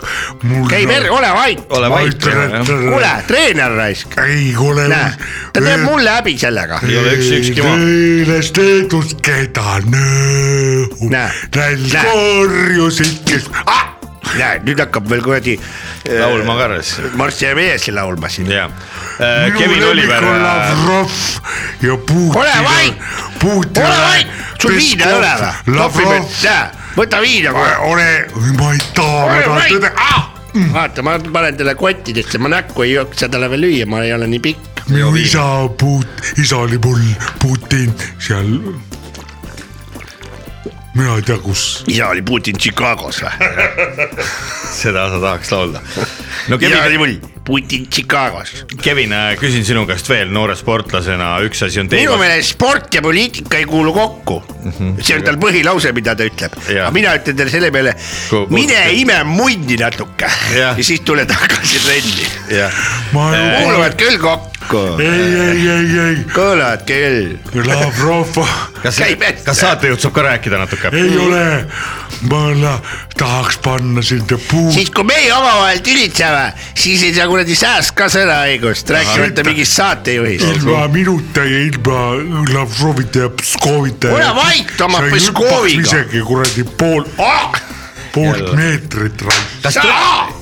S7: käib er- , ole vait ,
S4: ole vait .
S7: kuule , treener raisk ,
S5: ei ole .
S7: näe , ta teeb mulle häbi sellega .
S4: ei ole üks , ükski maa .
S5: Neilest Leedust , keda nõu ,
S7: Näe,
S5: näil
S7: näe.
S5: korjusid , kes ah! .
S7: näed , nüüd hakkab veel kuradi äh,
S4: laulma ka alles .
S7: Marss ja mees laulma siin .
S4: jah . Äh, Kevin Oliver . äh,
S5: Lavrov ja Putin .
S7: Ole vait!
S5: Putin .
S7: ole vait , sul viina ei ole või ?
S5: Lavrov
S7: Lavrov ,, näe , võta viina kohe .
S5: ole , ma ei taha , ma
S7: Ole
S5: tahan
S7: vait!
S5: tõde , ah ,
S7: vaata , ma panen talle kottidesse , ma näkku ei jaksa talle veel lüüa , ma ei ole nii pikk .
S5: minu isa Put- , isa oli mul Putin seal . mina ei tea , kus .
S7: isa oli Putin Chicagos või ?
S4: <laughs> seda sa tahaks laulda . no
S7: isa
S4: Kevin ,
S7: oli mul Putin Chicagos .
S4: Kevin , küsin sinu käest veel noore sportlasena , üks asi on
S7: minu
S4: teie .
S7: meelest sport ja poliitika ei kuulu kokku mm . -hmm. see on tal põhilause , mida ta ütleb .
S4: Jaa.
S7: aga mina ütlen talle selle peale
S4: Kui- ,
S7: mine ime mundi natuke ja,
S4: Jah.
S7: ja siis tule tagasi trenni .
S4: jah ,
S5: ma
S4: Äh.
S5: ei ,
S7: kuuluvad küll kokku ,
S5: ei , ei , ei , ei ,
S7: kõlavad küll .
S5: Lavrov
S4: kas
S7: Käib hästi. ,
S4: kas saatejuht saab ka rääkida natuke ?
S5: ei ole , ma la- tahaks panna sind ja puu- .
S7: siis kui meie omavahel tülitseme , siis ei saa kuradi sääst ka sõnaõigust , rääkimata mingist saatejuhist .
S5: ilma minuta ja ilma Lavrovita ja Pskovita .
S7: Ole vait oma Pskoviga.
S5: isegi kuradi pool , poolt meetrit raisk .
S4: kas te-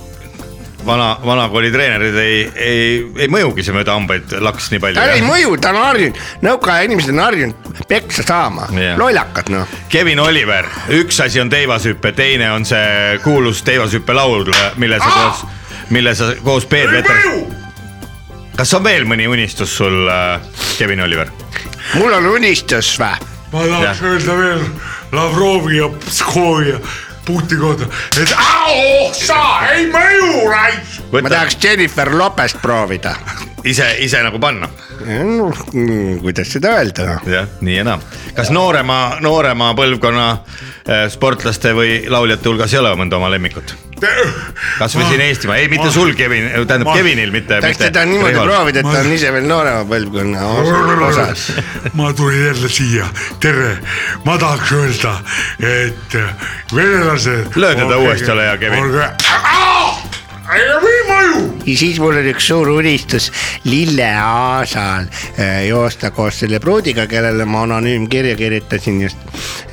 S4: vana , vanakooli treenerid ei , ei , ei mõjugi see mööda hambaid laks nii
S7: tal ei
S4: palju .
S7: mõju , ta on harjunud , nõukaaja inimesed on harjunud peksa saama
S4: Jah. ,
S7: lollakad noh .
S4: Kevin Oliver , üks asi on teivashüpe , teine on see kuulus teivashüpe laul , mille
S7: Ah!
S4: sa koos , mille sa koos Peep Veter . kas on veel mõni unistus sul , Kevin Oliver ?
S7: mul on unistus vä ?
S5: ma tahaks öelda veel Lavrovi ja Pskovi ja Puti kohta , et au sa ei mõju raisk .
S7: ma tahaks Jennifer Lopest proovida .
S4: ise , ise nagu panna ,
S7: kuidas seda öelda noh ?
S4: jah , nii ja naa . kas noorema , noorema põlvkonna eh, sportlaste või lauljate hulgas ei ole mõnda oma lemmikut ? kasvõi siin Eestimaa , ei mitte sul , Kevin , tähendab Kevinil , mitte .
S7: tahaks teda niimoodi proovida , et ta on ise veel noorema põlvkonna os- osas .
S5: ma tulin jälle siia , tere , ma tahaks öelda , et äh, venelased .
S4: Löö teda uuesti, ole hea, Kevin.
S5: ei või mõju .
S7: ja siis mul on üks suur unistus Lille Aasal äh, joosta koos selle pruudiga , kellele ma anonüümkirja kirjutasin just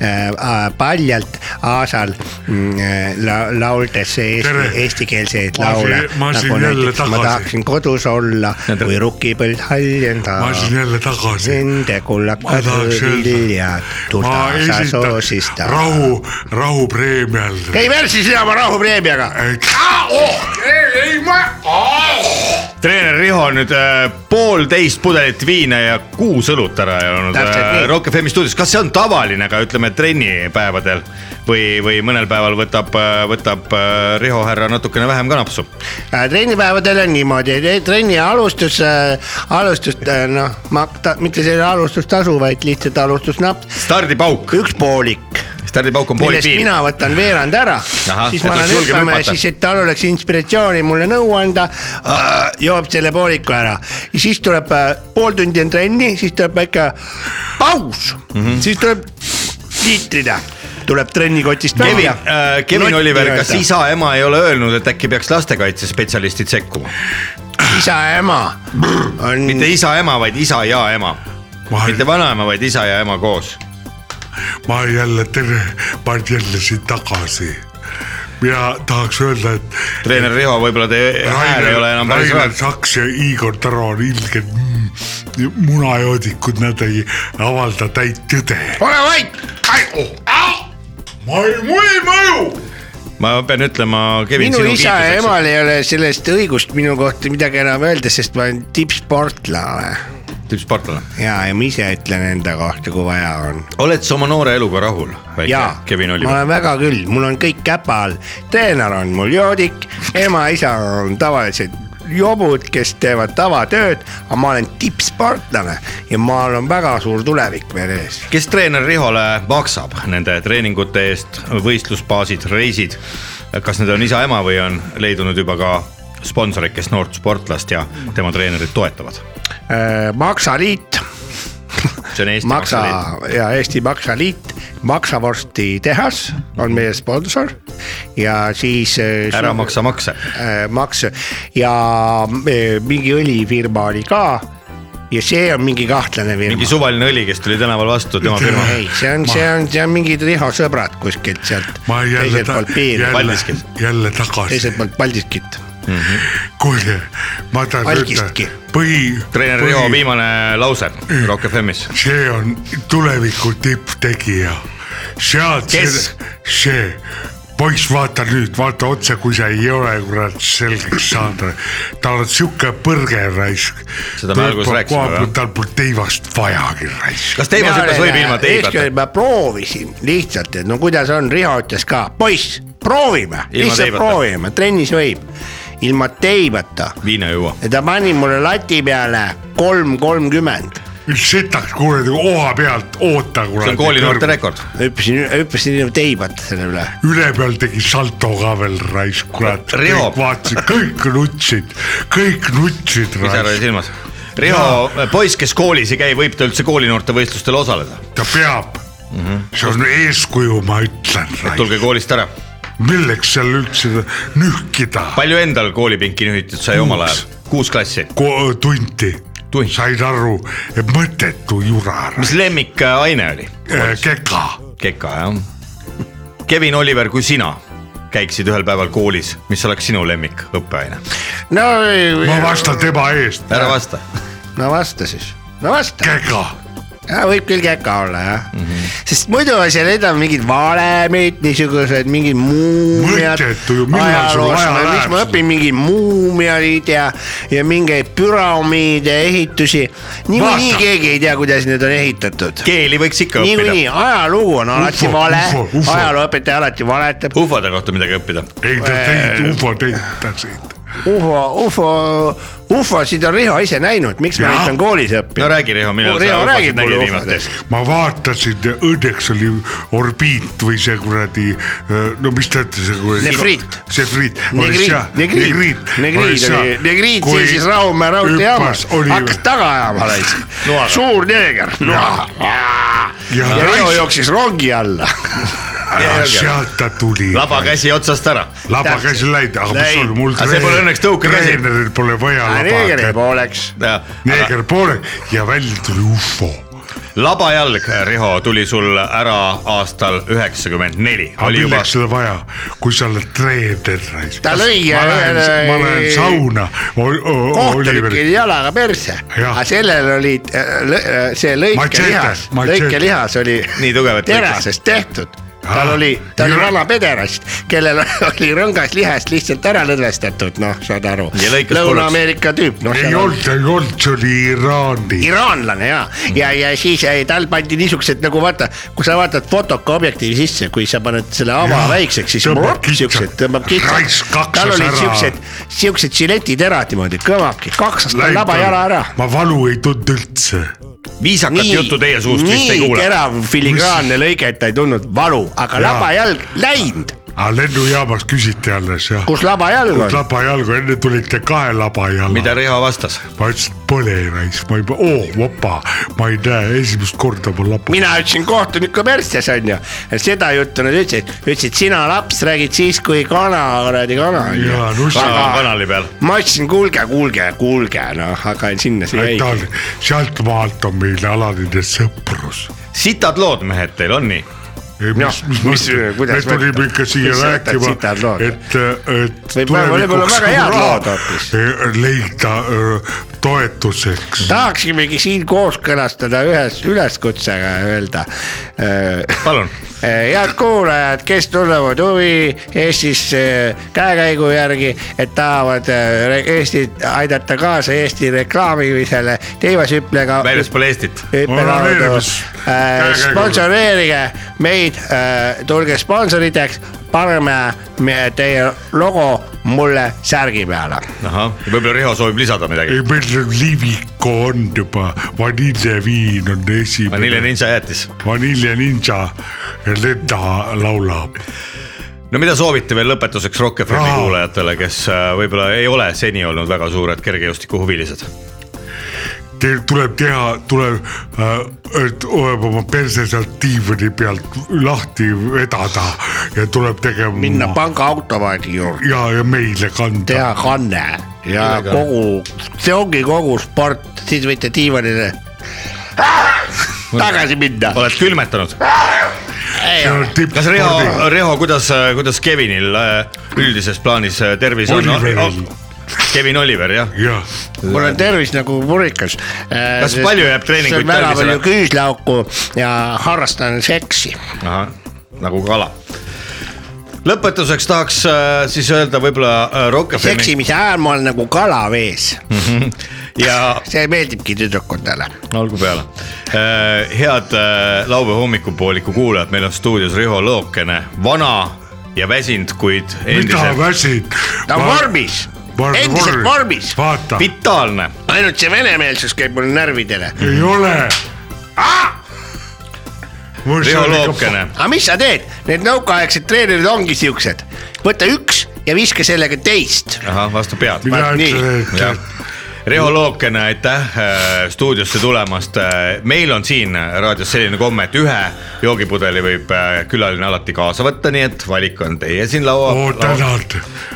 S7: äh, a- paljalt Aasal mm, äh, la- lauldes
S5: Tere.
S7: eesti, eestikeelseid
S5: Ma siin-
S7: laule .
S5: ma siin jälle
S7: ma
S5: tagasi.
S7: tahaksin kodus olla , kui rukipõld haljendab
S5: ma siin jälle tagasi .
S7: nende
S5: ma
S7: kullakad
S5: tahaks öelda
S7: viljad ,
S5: ma
S7: tudasa
S5: esitan
S7: soosistab .
S5: rahu , rahupreemial .
S7: käi värsi sina oma rahupreemiaga .
S5: et oh, ei , ei ma oh. .
S4: treener Riho nüüd äh, poolteist pudelit viina ja kuus õlut ära joonud
S7: Täpselt
S4: äh,
S7: nii.
S4: Rock FM stuudios , kas see on tavaline ka ütleme trennipäevadel või , või mõnel päeval võtab , võtab äh, Riho härra natukene vähem ka napsu ?
S7: Äh, trennipäevadel on niimoodi , et trenni alustus , alustus äh, noh , maksta , mitte selle alustustasu , vaid lihtsalt alustusnaps ,
S4: stardipauk ,
S7: üks poolik ,
S4: stardipauk on poolik
S7: millest
S4: viin .
S7: mina võtan veerand ära ,
S4: Ahah,
S7: siis
S4: et
S7: ma
S4: oleks
S7: lähen
S4: julgem
S7: hüppama ja
S4: hüpata.
S7: siis , et tal oleks inspiratsiooni mulle nõu anda , joob selle pooliku ära ja siis tuleb äh, pool tundi on trenni , siis tuleb väike paus mm ,
S4: Mhm.
S7: -hmm. siis tuleb liitrida , tuleb trennikotist
S4: Kevin
S7: välja
S4: äh, , Kevin
S7: Notti
S4: Oliver , kas
S7: rööta.
S4: isa , ema ei ole öelnud , et äkki peaks lastekaitsespetsialistid sekkuma ?
S7: Mm. isa ja ema on
S4: mitte isa , ema , vaid isa ja ema .
S5: ma
S4: mitte vanaema , vaid isa ja ema koos .
S5: ma jälle tere , ma olen jälle siin tagasi ja tahaks öelda , et .
S4: treener Riho , võib-olla teie hääl ei ole enam päris
S5: Rainer
S4: hea .
S5: Saks ja Igor Taro on ilgelt mm, munajoodikud , nad ei avalda täit tõde .
S7: ole vait ,
S5: ma ei , mul ei mõju .
S4: ma pean ütlema , Kevin ,
S7: minu
S4: sinu
S7: isa ja
S4: kiituseks .
S7: emal ei ole sellest õigust minu kohta midagi enam öelda , sest ma olen tippsportlane .
S4: tüüp Spartale .
S7: ja , ja ma ise ütlen enda kohta , kui vaja on .
S4: oled sa oma noore eluga rahul , väike
S7: jaa ,
S4: Kevin
S7: ma
S4: Oliver ?
S7: olen väga küll , mul on kõik käpa all , treener on mul joodik , ema-isa on tavalised jobud , kes teevad tavatööd , aga ma olen tippsportlane ja ma olen väga suur tulevik veel ees .
S4: kes treener Rihole maksab nende treeningute eest , võistlusbaasid , reisid , kas need on isa-ema või on leidunud juba ka sponsorid , kes noort sportlast ja tema treenerit toetavad ?
S7: maksaliit ,
S4: see on Eesti
S7: maksa
S4: Maksaliit .
S7: ja Eesti Maksaliit , maksavorsti tehas on meie sponsor ja siis .
S4: ära maksa makse .
S7: äh, makse ja äh, mingi õlifirma oli ka ja see on mingi kahtlane firma .
S4: mingi suvaline õli , kes tuli tänaval vastu , tema firma .
S7: ei , see on , see on , see on mingid Riho sõbrad kuskilt sealt
S5: ma jälle
S7: teiselt , poolt piiri ,
S5: jälle
S4: Paldiskis. ,
S5: jälle tagasi ,
S7: teiselt poolt Paldiskit .
S5: kuulge , ma tahan
S7: Paldiskistki.
S5: ütelda , põhi .
S4: treener Riho . viimane lause Rock FM-is .
S5: see on tuleviku tipptegija , sealt .
S4: Kes?
S5: see , poiss , vaata nüüd , vaata otse , kui sa ei ole kurat selgeks saanud , tal on sihuke põrge raisk .
S4: Seda me alguses rääkisime, jah?
S5: tal pole teivast vajagi raisk .
S4: kas teivas hüppas võib ilma teibata ?
S7: ma proovisin lihtsalt , et no kuidas on , Riho ütles ka , poiss , proovime , lihtsalt
S4: teibata.
S7: proovime , trennis võib , ilma teibata
S4: viina ei jõua .
S7: ja ta pani mulle lati peale kolm kolmkümmend
S5: setaks kuradi oha pealt , oota
S4: see on
S5: kuradi .
S4: koolinoorte rekord .
S7: hüppasin , hüppasin ilma teibata selle üle .
S5: ülepeal tegi salto ka veel raisk , kurat .
S4: Riho.
S5: kõik vaatasid , kõik nutsid , kõik nutsid
S4: pisar oli
S5: raisk ,
S4: silmas . Riho , poiss , kes koolis ei käi , võib ta üldse koolinoorte võistlustel osaleda ?
S5: ta peab mm .
S4: Mhm.
S5: -hmm. see on eeskuju , ma ütlen raisk ,
S4: tulge koolist ära .
S5: milleks seal üldse nühkida ,
S4: palju endal koolipinki nühitud sai omal ajal ? kuus klassi .
S5: äh, tunti .
S4: Tunt.
S5: said aru , mõttetu jura , Äh,
S4: mis lemmikaine oli ?
S5: keka ,
S4: keka , jah . Kevin Oliver , kui sina käiksid ühel päeval koolis , mis oleks sinu lemmik õppeaine ?
S7: no ,
S5: ma vastan tema eest ,
S4: ära vasta .
S7: no vasta siis , no vasta .
S5: keka ,
S7: Ja, võib küll käka olla jah mm , -hmm. sest muidu seal need on mingid valemid , niisugused mingid muumiad .
S5: Mõttetu ju, millal sul vaja
S7: miks
S5: läheb
S7: ma
S5: seda?
S7: õpin mingeid muumiaid ja , ja mingeid püramiide ehitusi . niikuinii
S5: Vaata.
S7: keegi ei tea , kuidas need on ehitatud .
S4: keeli võiks ikka
S7: niikuinii
S4: õppida .
S7: ajalugu on alati
S5: Ufo,
S7: vale
S5: ufo, , ufo.
S7: ajalooõpetaja alati valetab .
S4: ufode kohta midagi õppida .
S5: ei ta teid , ufo teid ta siit .
S7: ufo , ufo , ufosid on Riho ise näinud , miks ma
S5: Jah.
S7: neid on koolis õppinud
S4: no . räägi , Riho , millal sa
S7: Riho
S4: ufosid
S7: räägib
S4: nägid
S7: mulle
S4: viimati
S7: ufodest. ?
S5: ma vaatasin , õnneks oli orbiit või see kuradi , no mis ta ütles , see kuradi .
S7: Nefriit.
S5: Nefriit .
S7: Negriit , Negriit , Negriit oli , Negriit seisis Rahumäe raudteejaamas , hakkas taga ajama täitsa . suur neeger , noa .
S5: ja
S7: ja Riho
S5: raisk ,
S7: jooksis rongi
S5: <laughs>
S7: alla . Ah,
S5: sealt ta tuli .
S4: laba . käsi otsast ära .
S5: laba käsi läinud , aga mis
S7: Läinud.
S5: sul , mul
S4: Aga see pole õnneks tõukekäsi.
S5: treeneril pole vaja
S7: neegri
S5: laba .
S7: pooleks .
S5: neeger poole ja välja tuli ufo .
S4: labajalg , Riho , tuli sul ära aastal üheksakümmend neli .
S5: aga
S4: oli juba
S5: milleks , seda vaja , kui sa oled treener raisk .
S7: Ta lõi
S5: ma lähen
S7: ühele- ,
S5: ma lähen sauna .
S7: kohtunikil jalaga perse ,
S5: Jah.
S7: aga sellel oli äh, lõ- äh, see lõikelihas ,
S5: Machete, machete.
S7: lõikelihas oli
S4: Nii tugevat
S7: terasest tehtud . tal
S5: Ah,
S7: oli , ta oli
S5: jõle.
S7: vana pederast , kellel <laughs> oli rõngas lihast lihtsalt ära lõdvestatud , noh , saad aru
S4: Ja . lõikas
S7: Lõuna-Ameerika tüüp , noh .
S5: ei olnud , ei olnud , see oli Iraani .
S7: iraanlane ja ,
S4: Mm.
S7: ja , ja siis jäi- tal pandi niisugused nagu vaata , kui sa vaatad fotoka objektiivi sisse , kui sa paned selle ava
S5: Jah.
S7: väikseks , siis
S5: Tõmbab
S7: murp,
S5: kitsaks.
S7: siuksed tõmbab
S5: Raisk
S7: kitsaks .
S5: kaksas
S7: tal olid
S5: ära.
S7: siuksed , siuksed žilletiterad niimoodi kõvaki , kaksas tal
S5: Läinud
S7: laba
S5: on.
S7: jala ära .
S5: ma valu ei tundnud üldse .
S4: viisakat nii, juttu teie suust vist ei
S7: nii
S4: kuule .
S7: terav filigraanne lõige , et ta ei tundnud valu , aga
S5: Jaa.
S7: labajalg läinud ,
S5: aga lennujaamas küsiti alles jah .
S7: kus labajalg on .
S5: laba jalgu , enne tulite kahe laba jala .
S4: mida Riho vastas ?
S5: ma ütlesin , et põle raisk , ma ei , oo vaba , ma ei näe esimest korda mu laba .
S7: mina ütlesin kohtuniku persses onju , seda juttu nad ütlesid , ütlesid sina laps räägid siis , kui kana kuradi kana onju .
S5: ja
S4: kana
S5: no see ,
S4: on kanali peal .
S7: ma ütlesin , kuulge , kuulge , kuulge , noh , aga sinna see jäi .
S5: sealtmaalt on meil alaline sõprus .
S4: sitad lood , mehed , teil on nii ?
S5: mis , mis
S7: mis-
S5: mõttes , me
S7: kuidas
S5: tulime
S7: mõtled?
S5: ikka siia
S7: Mis sa jätad
S5: rääkima
S7: sitad , lood?
S5: et , et .
S7: Võib- võib-olla väga head lood hoopis.
S5: leida öö, toetuseks .
S7: tahaksimegi siin kooskõlastada ühes üleskutsega ja öelda .
S4: palun ,
S7: "Äh, head kuulajad , kes tunnevad huvi Eestisse käekäigu järgi , et tahavad eh, re- Eestit aidata kaasa Eesti reklaamimisele teivashüplega .
S4: väljaspool Eestit .
S7: hüppelaudu
S5: Olenevis. ,
S7: äh, sponsoreerige meid , tulge sponsoriteks , paneme me- teie logo mulle särgi peale .
S4: ahah , võib-olla Riho soovib lisada midagi .
S5: ei meil liivik on juba , vaniljeviin on
S4: Vanilla
S5: esimene ,
S4: Ninja jäätis .
S5: Vanilje Ninja , Lenda laulab .
S4: no mida soovite veel lõpetuseks Rock FM-i
S5: Raha.
S4: kuulajatele , kes äh, võib-olla ei ole seni olnud väga suured kergejõustikuhuvilised ?
S5: Teil tuleb teha , tuleb äh, , tuleb oma perse sealt diivani pealt lahti vedada ja tuleb tegema .
S7: minna pangaautomaadi juurde ,
S5: ja , ja meile kanda .
S7: teha kanne ja
S4: Millega?
S7: kogu , see ongi kogu sport , siis võite diivanile tagasi minna .
S4: oled külmetanud ? kas Riho
S5: tippspordi ,,
S4: Riho , kuidas , kuidas Kevinil äh, üldises plaanis äh, tervis on ?
S5: Oliveril.
S4: Kevin Oliver jah ,
S5: jah ,
S7: mul on tervis nagu murikas .
S4: Kas palju jääb treeninguid
S7: väga
S4: talvisele?
S7: palju küüslauku ja harrastan seksi
S4: nagu kala . lõpetuseks tahaks äh, siis öelda võib-olla äh, Rock FM-i
S7: seksimise ajal ma olen nagu kala vees ,
S4: Hmm. ja
S7: see meeldibki tüdrukutele .
S4: olgu peale . head äh, laupäeva hommikupooliku kuulajad , meil on stuudios Riho Lõokene , vana ja väsinud , kuid
S5: mida
S4: endiselt
S5: väsid .
S7: ta on vormis , endiselt vormis ,
S5: vaata ,
S4: vitaalne .
S7: ainult see venemeelsus käib mul närvidele .
S5: ei ole .
S7: Ah!
S4: Riho Lõokene ,
S7: aga mis sa teed , need nõukaaegsed treenerid ongi siuksed , võta üks ja viska sellega teist .
S4: ahah , vastu pead .
S5: mina
S7: Vaat nii.
S5: ütlen ,
S4: Jah. Riho Lookene , aitäh äh, stuudiosse tulemast . meil on siin raadios selline komme , et ühe joogipudeli võib äh, külaline alati kaasa võtta , nii et valik on teie siin laua
S5: oo
S4: laua-
S5: tänan ,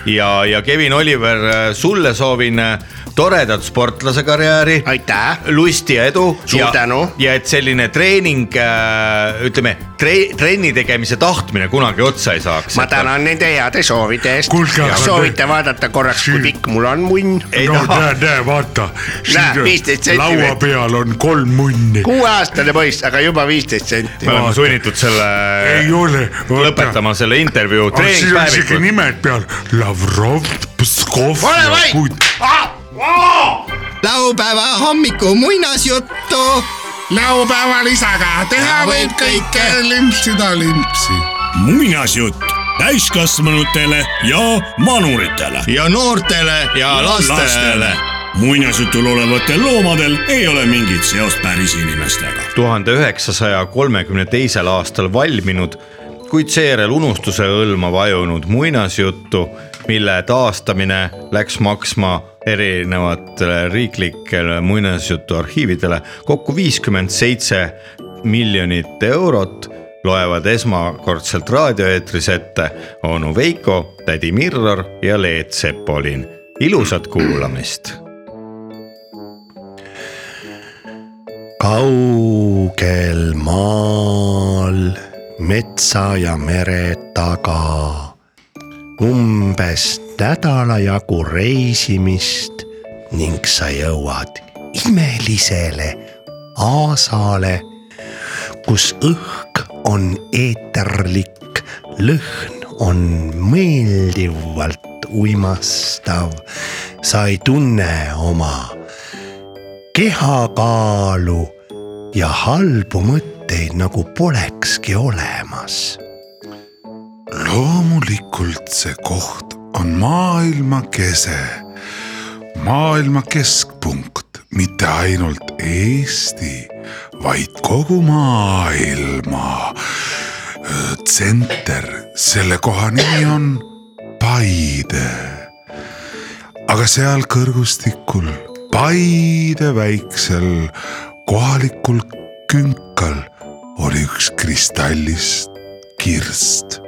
S4: ja , ja Kevin Oliver , sulle soovin äh, toredat sportlase karjääri ,
S7: aitäh ,
S4: lusti ja edu .
S7: Suur tänu.
S4: ja et selline treening , ütleme tre, , trenni tegemise tahtmine kunagi otsa ei saaks .
S7: ma . tänan nende heade soovide eest
S5: Kuulge, aga .
S7: soovite vaadata korraks , kui
S5: Siin-
S7: pikk mul on munn .
S4: ei
S7: <laughs>
S5: no
S4: taha.
S5: näe , näe , vaata .
S7: Näe, 15 sentimeetrit.
S5: laua peal on kolm munni .
S7: kuueaastane poiss , aga juba viisteist senti
S4: me . oleme sunnitud selle
S5: ei ole .
S4: לא lõpetama selle intervjuu .
S5: siin on isegi nimed peal , Lavrov , Pskov .
S7: Ole vait!
S9: laupäeva hommiku muinasjuttu .
S10: laupäeva lisaga teha võib kõike , limpsida limpsi .
S1: muinasjutt täiskasvanutele ja manuritele .
S4: ja noortele ja lastele .
S1: muinasjutul olevatel loomadel ei ole mingit seost päris inimestega .
S4: tuhande üheksasaja kolmekümne teisel aastal valminud , kuid seejärel unustuse hõlma vajunud muinasjuttu , mille taastamine läks maksma erinevatele riiklikele muinasjutuarhiividele kokku viiskümmend seitse miljonit eurot , loevad esmakordselt raadioeetris ette onu Veiko , tädi Mirror ja Leet Sepolin . ilusat kuulamist
S6: kaugel maal metsa ja mere taga umbes nädala jagu reisimist ning sa jõuad imelisele aasale , kus õhk on eeterlik , lõhn on meeldivalt uimastav . sa ei tunne oma kehakaalu ja halbu mõtteid nagu polekski olemas .
S10: loomulikult see koht on maailma kese , maailma keskpunkt , mitte ainult Eesti , vaid kogu maailma öö, tsenter , selle koha nimi on Paide . aga seal kõrgustikul , Paide väiksel kohalikul künkal oli üks kristallist kirst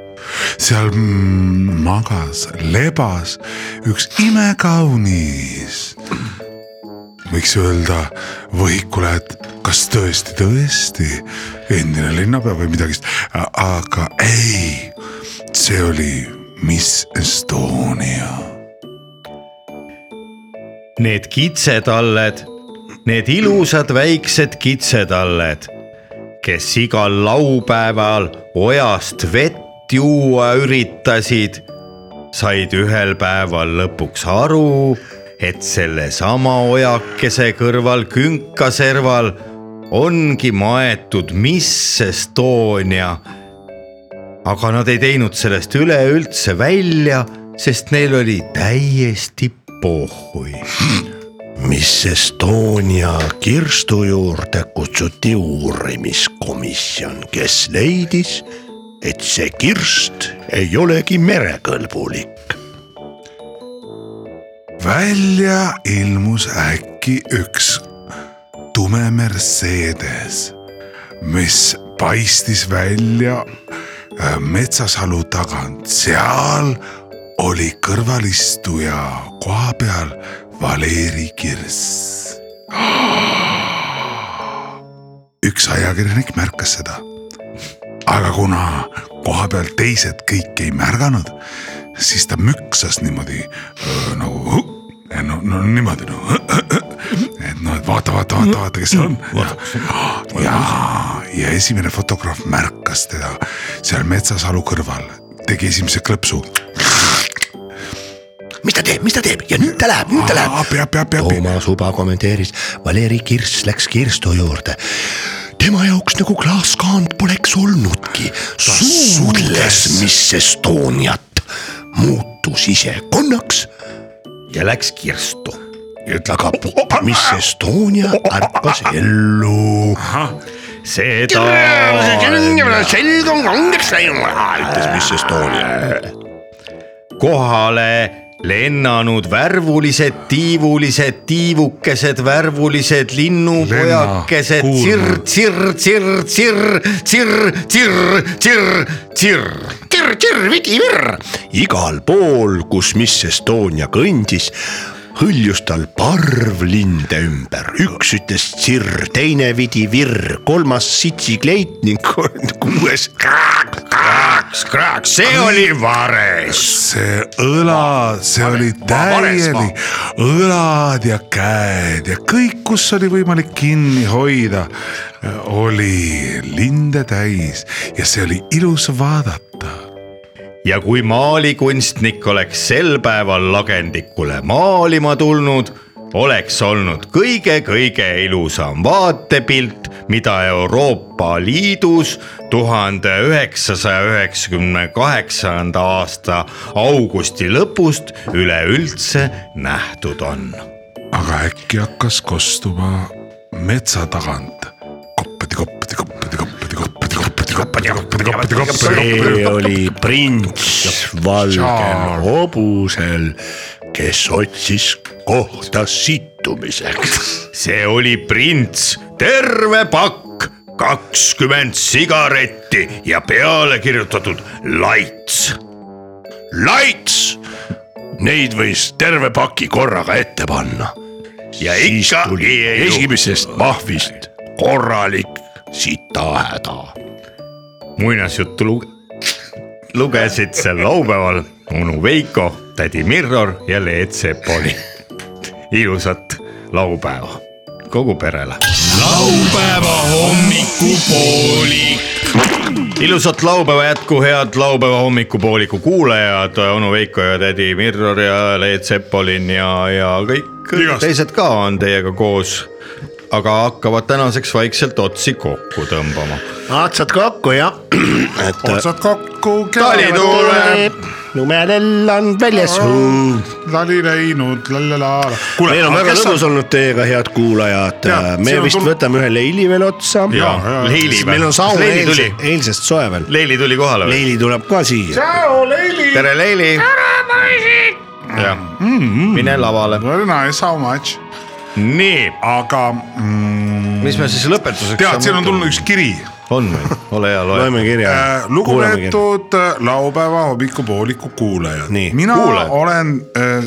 S10: seal mm, magas , lebas üks imekaunis . võiks öelda võhikule , et kas tõesti , tõesti endine linnapea või midagi , aga ei , see oli Miss Estonia
S4: Need kitsetalled , need ilusad väiksed kitsetalled , kes igal laupäeval ojast vett juua üritasid , said ühel päeval lõpuks aru , et sellesama ojakese kõrval künkaserval ongi maetud Miss Estonia aga nad ei teinud sellest üleüldse välja , sest neil oli täiesti pohhui .
S6: mis Estonia kirstu juurde kutsuti uurimiskomisjon , kes leidis , et see kirst ei olegi merekõlbulik .
S5: välja ilmus äkki üks tume Mercedes , mis paistis välja äh, metsasalu tagant , seal oli kõrvalistuja koha peal Valeri Kirss . <gasps> üks ajakirjanik märkas seda , aga kuna koha peal teised kõik ei märganud , siis ta müksas niimoodi öö, nagu "Huh!" Ja no, no niimoodi no . et noh , et vaata , vaata , vaata , vaata , kes seal on .
S6: Mm,
S5: ja , ja esimene fotograaf märkas teda seal metsasalu kõrval , tegi esimese klõpsu .
S6: mis ta teeb , mis ta teeb ja nüüd ta läheb , nüüd ta läheb . Oh.
S5: appi , appi , appi , appi .
S6: Toomas Uba kommenteeris , Valeri Kirss läks kirstu juurde . tema jaoks nagu klaaskaant poleks olnudki . ta suudles Miss Estoniat , muutus isekonnaks ja läks kirstu . ütle aga , Miss Estonia ärkas ellu .
S4: seda .
S6: selg on kangeks läinud , ütles Miss Estonia .
S4: kohale lennanud värvulised , tiivulised , tiivukesed , värvulised linnupojakesed , tsirr , tsirr , tsirr , tsirr , tsirr , tsirr , tsirr , tsirr .
S6: tirr , tirr , vidi , virr . igal pool , kus Miss Estonia kõndis , hõljus tal parv linde ümber , üks ütles tsirr , teine vidi virr , kolmas sitsikleit ning kolm- kuues kraaks , kraaks , kraaks , see oli vares .
S5: see õla , see oli täielik , õlad ja käed ja kõik , kus oli võimalik kinni hoida , oli linde täis ja see oli ilus vaadata .
S4: ja kui maalikunstnik oleks sel päeval lagendikule maalima tulnud , oleks olnud kõige-kõige ilusam vaatepilt , mida Euroopa Liidus tuhande üheksasaja üheksakümne kaheksanda aasta augusti lõpust üleüldse nähtud on
S5: aga äkki hakkas kostuma metsa tagant koppadi , koppadi , koppadi , koppadi , koppadi , koppadi , koppadi , koppadi , koppadi , koppadi ,
S6: see oli prints valgel hobusel , kes otsis kohta sittumiseks
S4: see oli prints , terve pakk , kakskümmend sigaretti ja peale kirjutatud laits
S6: laits , neid võis terve paki korraga ette panna .
S4: ja ikka ei ei .
S6: esimesest mahvist korralik sitahäda .
S4: muinasjuttu luge- , lugesid seal laupäeval onu Veiko , tädi Mirror ja Leet Sepoli . ilusat laupäeva kogu perele .
S11: laupäeva hommikupoolik .
S4: ilusat laupäeva jätku , head laupäeva hommikupooliku kuulajad , onu Veiko ja tädi Mirror ja Leet Sepolin ja , ja kõik Igast. teised ka on teiega koos aga hakkavad tänaseks vaikselt otsi kokku tõmbama .
S7: otsad kokku jah , et .
S5: otsad kokku ,
S4: tali tuleb ,
S7: lumelell on väljas .
S5: lali läinud , lalala .
S6: meil on väga lõbus olnud teiega , head kuulajad
S5: Jaa, .
S6: me
S5: siin on
S6: vist
S5: tulnud-
S6: võtame ühe leili veel otsa .
S4: jaa, leili
S6: leili .
S4: või?
S6: meil on saun
S4: Kas leili
S6: eilse,
S4: tuli?
S6: eilsest soe veel .
S4: Leili tuli kohale või ?
S6: leili tuleb ka siia .
S4: tere , Leili . tere , poisid . jah ,
S6: Mm-hmm.
S4: mine lavale .
S5: Very nice , how much ?
S4: nii ,
S5: aga mm,
S4: mis me siis lõpetuseks .
S5: tead , siin on tulnud . üks kiri .
S4: on või , ole hea , loe .
S6: loeme kirja .
S5: lugupeetud äh, laupäeva hommikupooliku kuulajad
S6: Nii, .
S5: mina
S4: kuulaja.
S5: kuulaja. olen äh,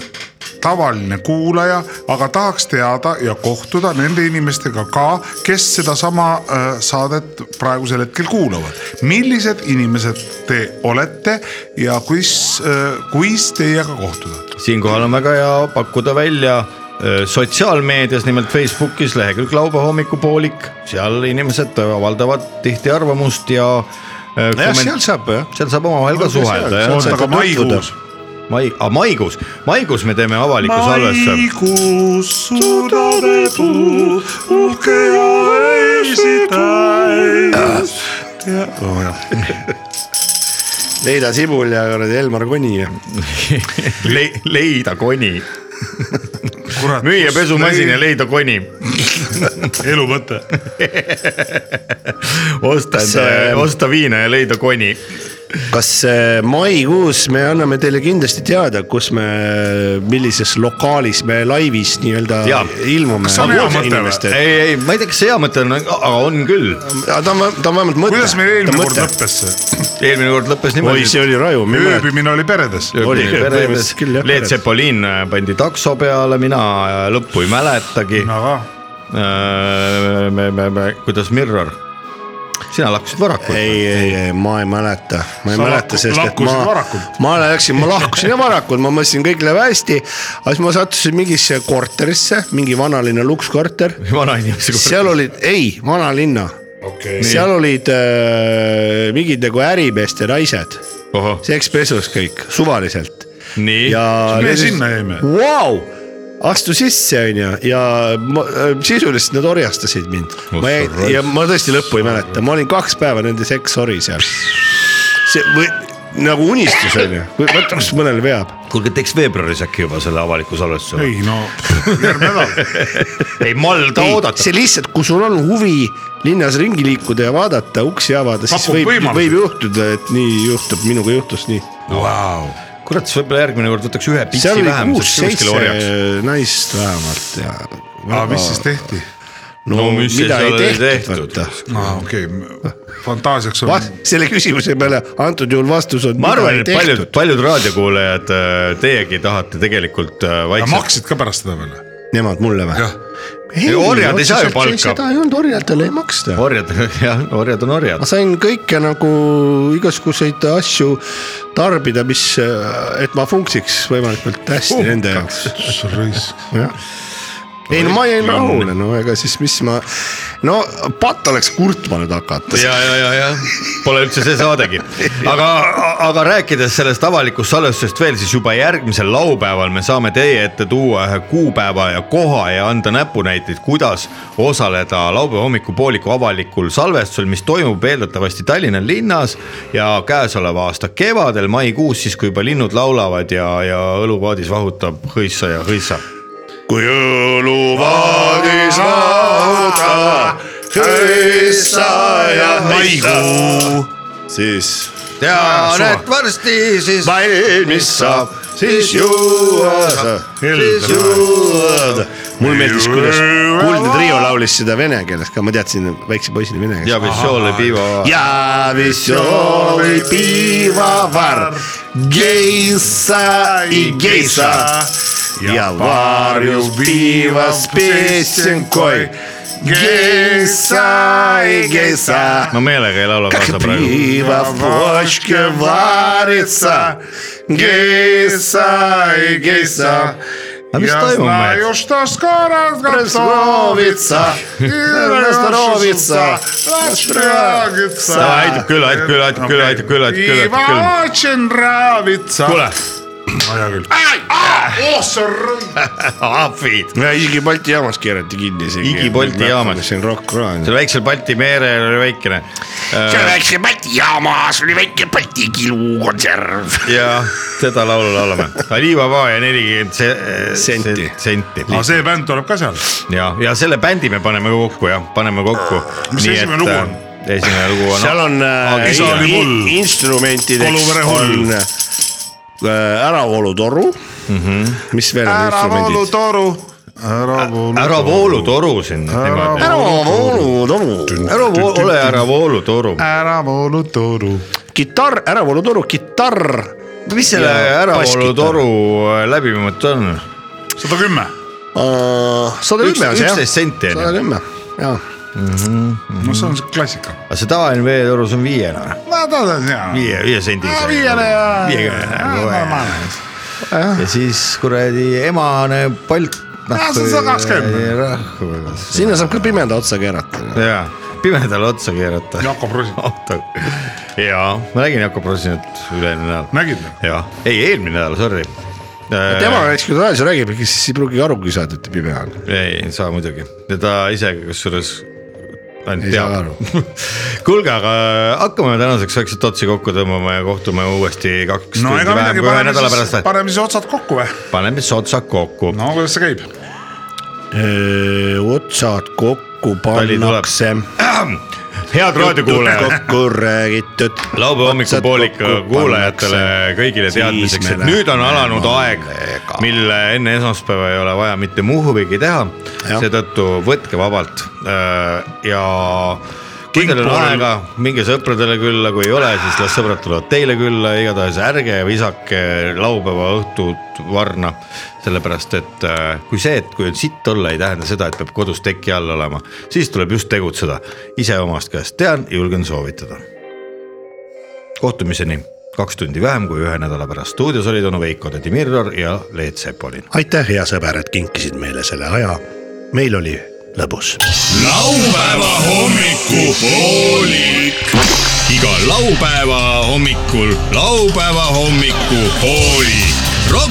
S5: tavaline kuulaja , aga tahaks teada ja kohtuda nende inimestega ka , kes sedasama äh, saadet praegusel hetkel kuulavad . millised inimesed te olete ja kuis äh, , kuis teiega kohtuda ?
S4: siinkohal on väga hea pakkuda välja sotsiaalmeedias , nimelt Facebookis lehekülg laupäeva hommikupoolik , seal inimesed avaldavad tihti arvamust ja .
S6: jah , seal saab jah .
S4: seal saab omavahel ka suhelda jah .
S6: seal saab tutvuda .
S4: mai , aga maikuus , maikuus me teeme avaliku salvestuse .
S6: Leila Sibul ja kuradi Elmar Koni ja
S4: Le leida koni . müüa pesumasin ja leida koni . elu mõte . osta endale , osta viina ja leida koni .
S6: kas äh, maikuus me anname teile kindlasti teada , kus me , millises lokaalis me laivis nii-öelda
S4: Jaa.
S6: ilmume .
S5: Kas see on hea mõte või?
S6: või ?
S4: ei , ei , ma ei tea , kas see hea mõte on , aga on küll .
S6: ta on , ta on vähemalt mõte .
S5: kuidas meil eelmine kord ? lõppes see ?
S4: eelmine kord lõppes
S6: oi , see
S4: niimoodi .
S6: oli raju , ma ei mäleta .
S5: ööbimine oli peredes .
S6: oli põhimõtteliselt küll, jah,
S4: Leet
S6: peres.
S4: Sepolin äh, pandi takso peale , mina äh, lõppu ei mäletagi .
S5: aga
S4: me , me , me , kuidas Mirror ? sina lakkusid varakult .
S6: ei , ei , ei , ma ei mäleta , ma ei
S5: Sa
S6: mäleta ,
S5: lahku-
S6: sest et
S5: lahkusid
S6: ma
S5: varakult. ,
S6: ma läksin , ma lahkusin ja varakult , ma mõtlesin , kõik läheb hästi . aga siis ma sattusin mingisse korterisse , mingi vanalinna lukskorter .
S4: vanainimese
S6: seal
S4: kord .
S6: olid , ei , vanalinna okay. , seal olid äh, mingid nagu ärimeeste naised ,
S4: ohoh ,
S6: sekspesus kõik suvaliselt .
S4: nii .
S6: ja .
S5: me sinna jäime.
S6: Vau , astu sisse , onju , ja ma, äh, sisuliselt nad orjastasid mind . ma jäin
S4: raisk.
S6: ja ma tõesti lõppu ei mäleta , ma olin kaks päeva nende seksori seal . see või nagu unistus onju , vaata kus mõnel veab .
S4: kuulge , teeks veebruaris äkki juba selle avaliku salvestuse ?
S5: ei no järgmine
S6: <laughs>
S5: nädal .
S4: ei , malda oodata .
S6: see lihtsalt , kui sul on huvi linnas ringi liikuda ja vaadata , uksi avada , siis
S5: Pakub
S6: võib ,
S5: võimalusi.
S6: võib juhtuda , et nii juhtub , minuga juhtus nii .
S4: kurat , siis võib-olla järgmine kord võtaks ühe pitsi
S6: seal oli
S4: vähem , sest
S6: kuus-seitse
S4: kuskil orjaks .
S6: Äh, naist vähemalt ja .
S5: aga mis siis ? tehti ?
S6: no,
S4: No
S6: no
S4: mis
S6: mida
S4: siis
S6: ei
S4: seal oli
S6: tehtud ,
S4: tehtud?
S6: vaata .
S5: aa , okei , fantaasiaks on
S6: Vas- , selle küsimuse peale antud juhul vastus on .
S4: ma arvan , et paljud , paljud raadiokuulajad , teiegi tahate tegelikult äh,
S5: ja
S4: vaikselt .
S5: maksid ka pärast seda veel ?
S6: Nemad mulle või ?
S4: Ei, orjad ei saa ju palka.
S6: seda ei olnud , orjadele ei maksta .
S4: orjad , <laughs> jah , orjad on
S6: ma
S4: orjad .
S6: sain kõike nagu igasuguseid asju tarbida , mis , et ma funksiks võimalikult hästi Funkaks. nende jaoks . ei no ma jäin rahule , no ega siis mis ma , no patt oleks kurtma nüüd hakata .
S4: ja , ja , ja , ja pole üldse see saadegi . aga , aga rääkides sellest avalikust salvestusest veel , siis juba järgmisel laupäeval me saame teie ette tuua ühe kuupäeva ja koha ja anda näpunäiteid , kuidas osaleda laupäeva hommikupooliku avalikul salvestusel , mis toimub eeldatavasti Tallinna linnas ja käesoleva aasta kevadel , maikuus , siis kui juba linnud laulavad ja , ja õluvaadis vahutab hõissa ja hõissa .
S6: kui õluvaadis vahuta , hõissa ja hõissa , siis
S4: ja näed varsti siis .
S6: valmis saab , siis juua sa , siis juua sa . mulle meeldis , kuidas Kuldne Trio laulis seda vene keeles ka , ma teadsin väikse poisina vene
S4: ja
S6: keeles .
S4: Vissole piiva .
S6: ja visjoli piivavar , geissa i geissa ja varjus piivas pessenkoi , geissa i geissa
S4: ma meelega ei laula kaasa praegu .
S6: Пиво в бочке варится, гейса и гейса.
S4: aga mis toimub meil ?
S5: just skoro
S6: Прословится, прословится,
S4: Davai, aitab küll , aitab küll , aitab küll , aitab küll , aitab küll , aitab küll . kuule , ahvid ,
S6: no isegi Balti jaamas keerati kinni isegi .
S4: Igi Balti jaamas.
S6: siin rokk-kraan .
S4: seal väiksel Balti merel oli väikene .
S6: väikse Balti jaamas oli väike Balti kilukonserv .
S4: ja seda laulu laulame . Aliva Vaa ja nelikümmend se-
S6: Senti.
S4: se- senti .
S5: aga see bänd tuleb ka seal .
S4: ja , ja selle bändi me paneme kokku jah , paneme kokku .
S5: Mis esimene lugu on? ?
S4: esimene lugu on .
S6: seal on äh,
S4: Isa
S6: in-
S4: oli
S5: mul.
S6: instrumentideks
S5: Oluvere hull.
S6: on äh, Eh, äravoolutoru mm , -hmm. mis veel on instrumendid ?
S5: toru , ära voolu .
S4: ära voolu toru sinna niimoodi .
S6: äravoolutoru ,
S4: ära voolu , ole ära voolu toru .
S5: ära voolu toru .
S6: kitarr , äravoolutoru , kitarr .
S4: mis selle ära voolu toru läbimõte on ?
S5: sada kümme .
S6: sada kümme on see jah ,
S4: üksteist senti on ju
S6: sada . kümme , jaa .
S5: no see on see klassika .
S4: aga see tavaline veetorus on viiene või ?
S5: no ta on hea .
S4: viie , viie sendise .
S5: viiele ja .
S4: viiekümne . ja siis kuradi emane palk , noh,
S5: see on sada kakskümmend.
S4: rahvas .
S6: sinna saab ka pimeda otsa keerata .
S4: jaa , pimedale otsa keerata .
S5: Jakob Rosin ,
S4: <laughs> auto . jaa , ma nägin Jakob Rosinat üle-eelmine nädal .
S5: nägid või ?
S4: jaa , ei eelmine nädal , sorry .
S6: tema näiteks , kui ta raadios räägib , siis ei pruugi arugi saada , et ta pime on .
S4: ei , ei saa muidugi , ta ise kusjuures ainult
S6: ei saa
S4: teab .
S6: aru .
S4: <laughs> kuulge , aga hakkame tänaseks vaikselt otsi kokku tõmbama ja kohtume uuesti kaks
S5: no ega
S4: tundi vähem
S5: midagi ,
S4: kui ühe nädala
S5: paneme
S4: pärast
S5: siis ,
S4: või ?
S5: paneme siis otsad kokku või ?
S4: paneme siis otsad kokku no. .
S5: no kuidas see käib ?
S6: otsad kokku
S4: Tali tuleb.
S6: pannakse .
S4: head raadiokuulajad ,
S6: kokku räägitud .
S4: laupäeva hommikupooliku kuulajatele kõigile teadmiseks , et nüüd on alanud aeg , mil enne esmaspäeva ei ole vaja mitte muhvigi teha .
S6: Jah.
S4: seetõttu võtke vabalt äh, ja kui teil on aega , minge sõpradele külla , kui ei ole , siis las sõbrad tulevad teile külla , igatahes ärge visake laupäeva õhtut varna . sellepärast , et äh, kui see , et kui on sitt olla , ei tähenda seda , et peab kodus teki all olema , siis tuleb just tegutseda . ise omast käest tean , julgen soovitada . kohtumiseni kaks tundi vähem kui ühe nädala pärast , stuudios olid onu Veiko , Tõdi Mirror ja Leet Sepolin .
S6: aitäh , hea sõber , et kinkisid meile selle aja . meil oli lõbus
S1: laupäeva hommikupoolik . iga laupäeva hommikul laupäeva hommikupoolik . Rock